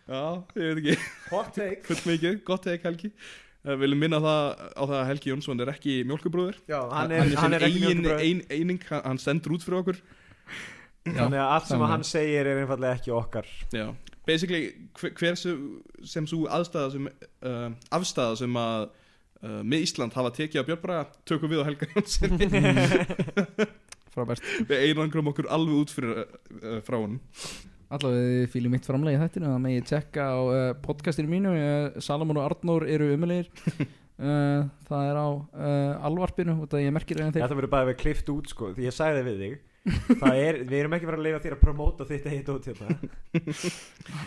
Já, ég veit ekki hot take Fullt mikið, gott teik Helgi Eh, Við viljum minna það á það að Helgi Jónsson er ekki mjólkubrúður Já, hann er, hann er ekki ein, mjólkurbröð ein, eining, hann- hann sendur út fyrir okkur Þannig að allt sem Þannig. hann segir er einfallega ekki okkar Já, basically hver, hver sem, sem svo aðstæða sem, uh, afstæða sem að uh, með Ísland hafa tekið á Björn Braga tökum við á Helga Jónssoni frábært við einangrum okkur alveg út fyrir uh, frá honum Allavega fýlum mitt framlega í þættinu það megi tjekka á uh, podcastinu mínu uh, Salomon og Arnór eru umulegir uh, það er á uh, alvarpinu og það ég merkir eða þeir Þetta verður bara að vera klift út sko Því ég sagði við þig Það er, við erum ekki verið að leifa þér að promóta þitt eitt út hérna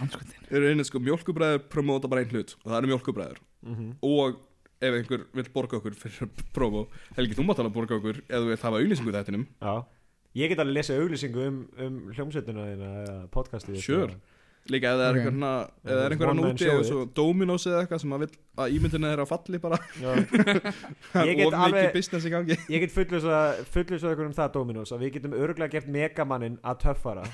Andskotinn. eru einu sko mjólkubræður promóta bara einn hlut og það eru mjólkubræður Mhm. og ef einhver vill borga okkur fyrir promo Helgi, þú mátt alveg borga okkur eða þú vill hafa auðlýsingu þættinum Já Ég get alveg lesið auglýsingu um, um hljómsveituna þína eða podcastið þitt. Sure. líka ef það er Ok. okay. einhver eða er einhver One hann man úti show eða svo Dominos eða eitthvað sem að, vill, að ímyndina þeirra falli bara Já. of Ég get mikið alveg- business í gangi Ég get fullvisað fullvisað ykkur um það Dominos að við getum örglega gert megamannin að töffara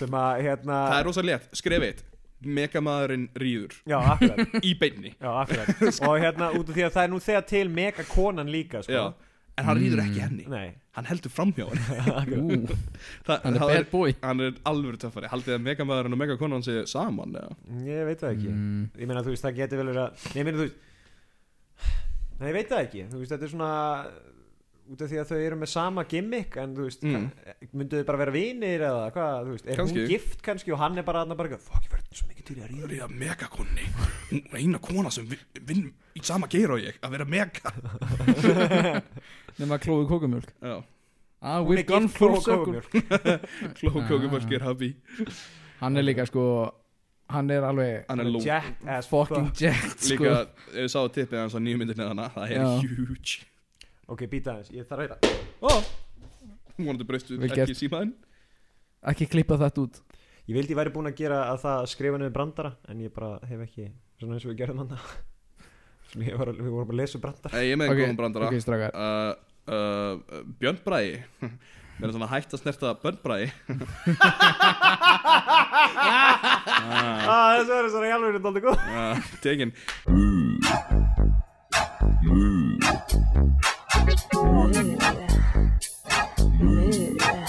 sem að hérna Það er rosa létt, skref eitt Megamaðurinn rýður Já, akkurat, Í beinni já, akkurat. Og hérna út af því að það er nú þegar til megakonan líka sko. Já. En hann rýður Mm. ekki henni Nei, Hann heldur framhjá henni Ú, Þa, hann er það bad boy hann er alvöru töffari Haldið að megamaðurinn og megakonan séu saman eða? ég veit það ekki Mm. Ég meina þú veist það getur vel verið að Nei, ég meina þú veist Nei, ég veit það ekki Þú veist þetta er svona út af því að þau eru með sama gimmick en þú veist, Mm. mm. myndu þau bara vera vinir eða hvað, þú veist, er Kannski. hún gift kannski og hann er bara aðna bara, eitthvað, fuck, ég verður svo mikið til í að ríða Rýða megakonni Hún er eina kona sem vin, vinn í sama geir og ég Að vera mega nema klóðu kókumjölk Já, ah, Hún we've er gone gift full og circle kókumjólk. klókókumölk er happy hann er líka sko hann er alveg Hann er ló Jack as fucking fuck jacked sko. Líka, ef ég sá tippið hans á nýju myndinni hana Það er Já. huge Ok, býta aðeins, ég þarf að reyta Ó Vonandi breystu Vel ekki símaðin ekki klippa þetta út Ég vildi ég væri búin að gera að það skrifa niður brandara en ég bara hef ekki, svona eins og við gerðum hann Svona ég var að, við vorum að lesa brandara Ég er með Ok, okay. góðum brandara ok, strákar uh, uh, Björn Bræði Mér er svona hægt að snerta Björn Bræði Ah, þessu verður svona í alveg þetta aldrei góð uh, Tekin Nudd. Nudd.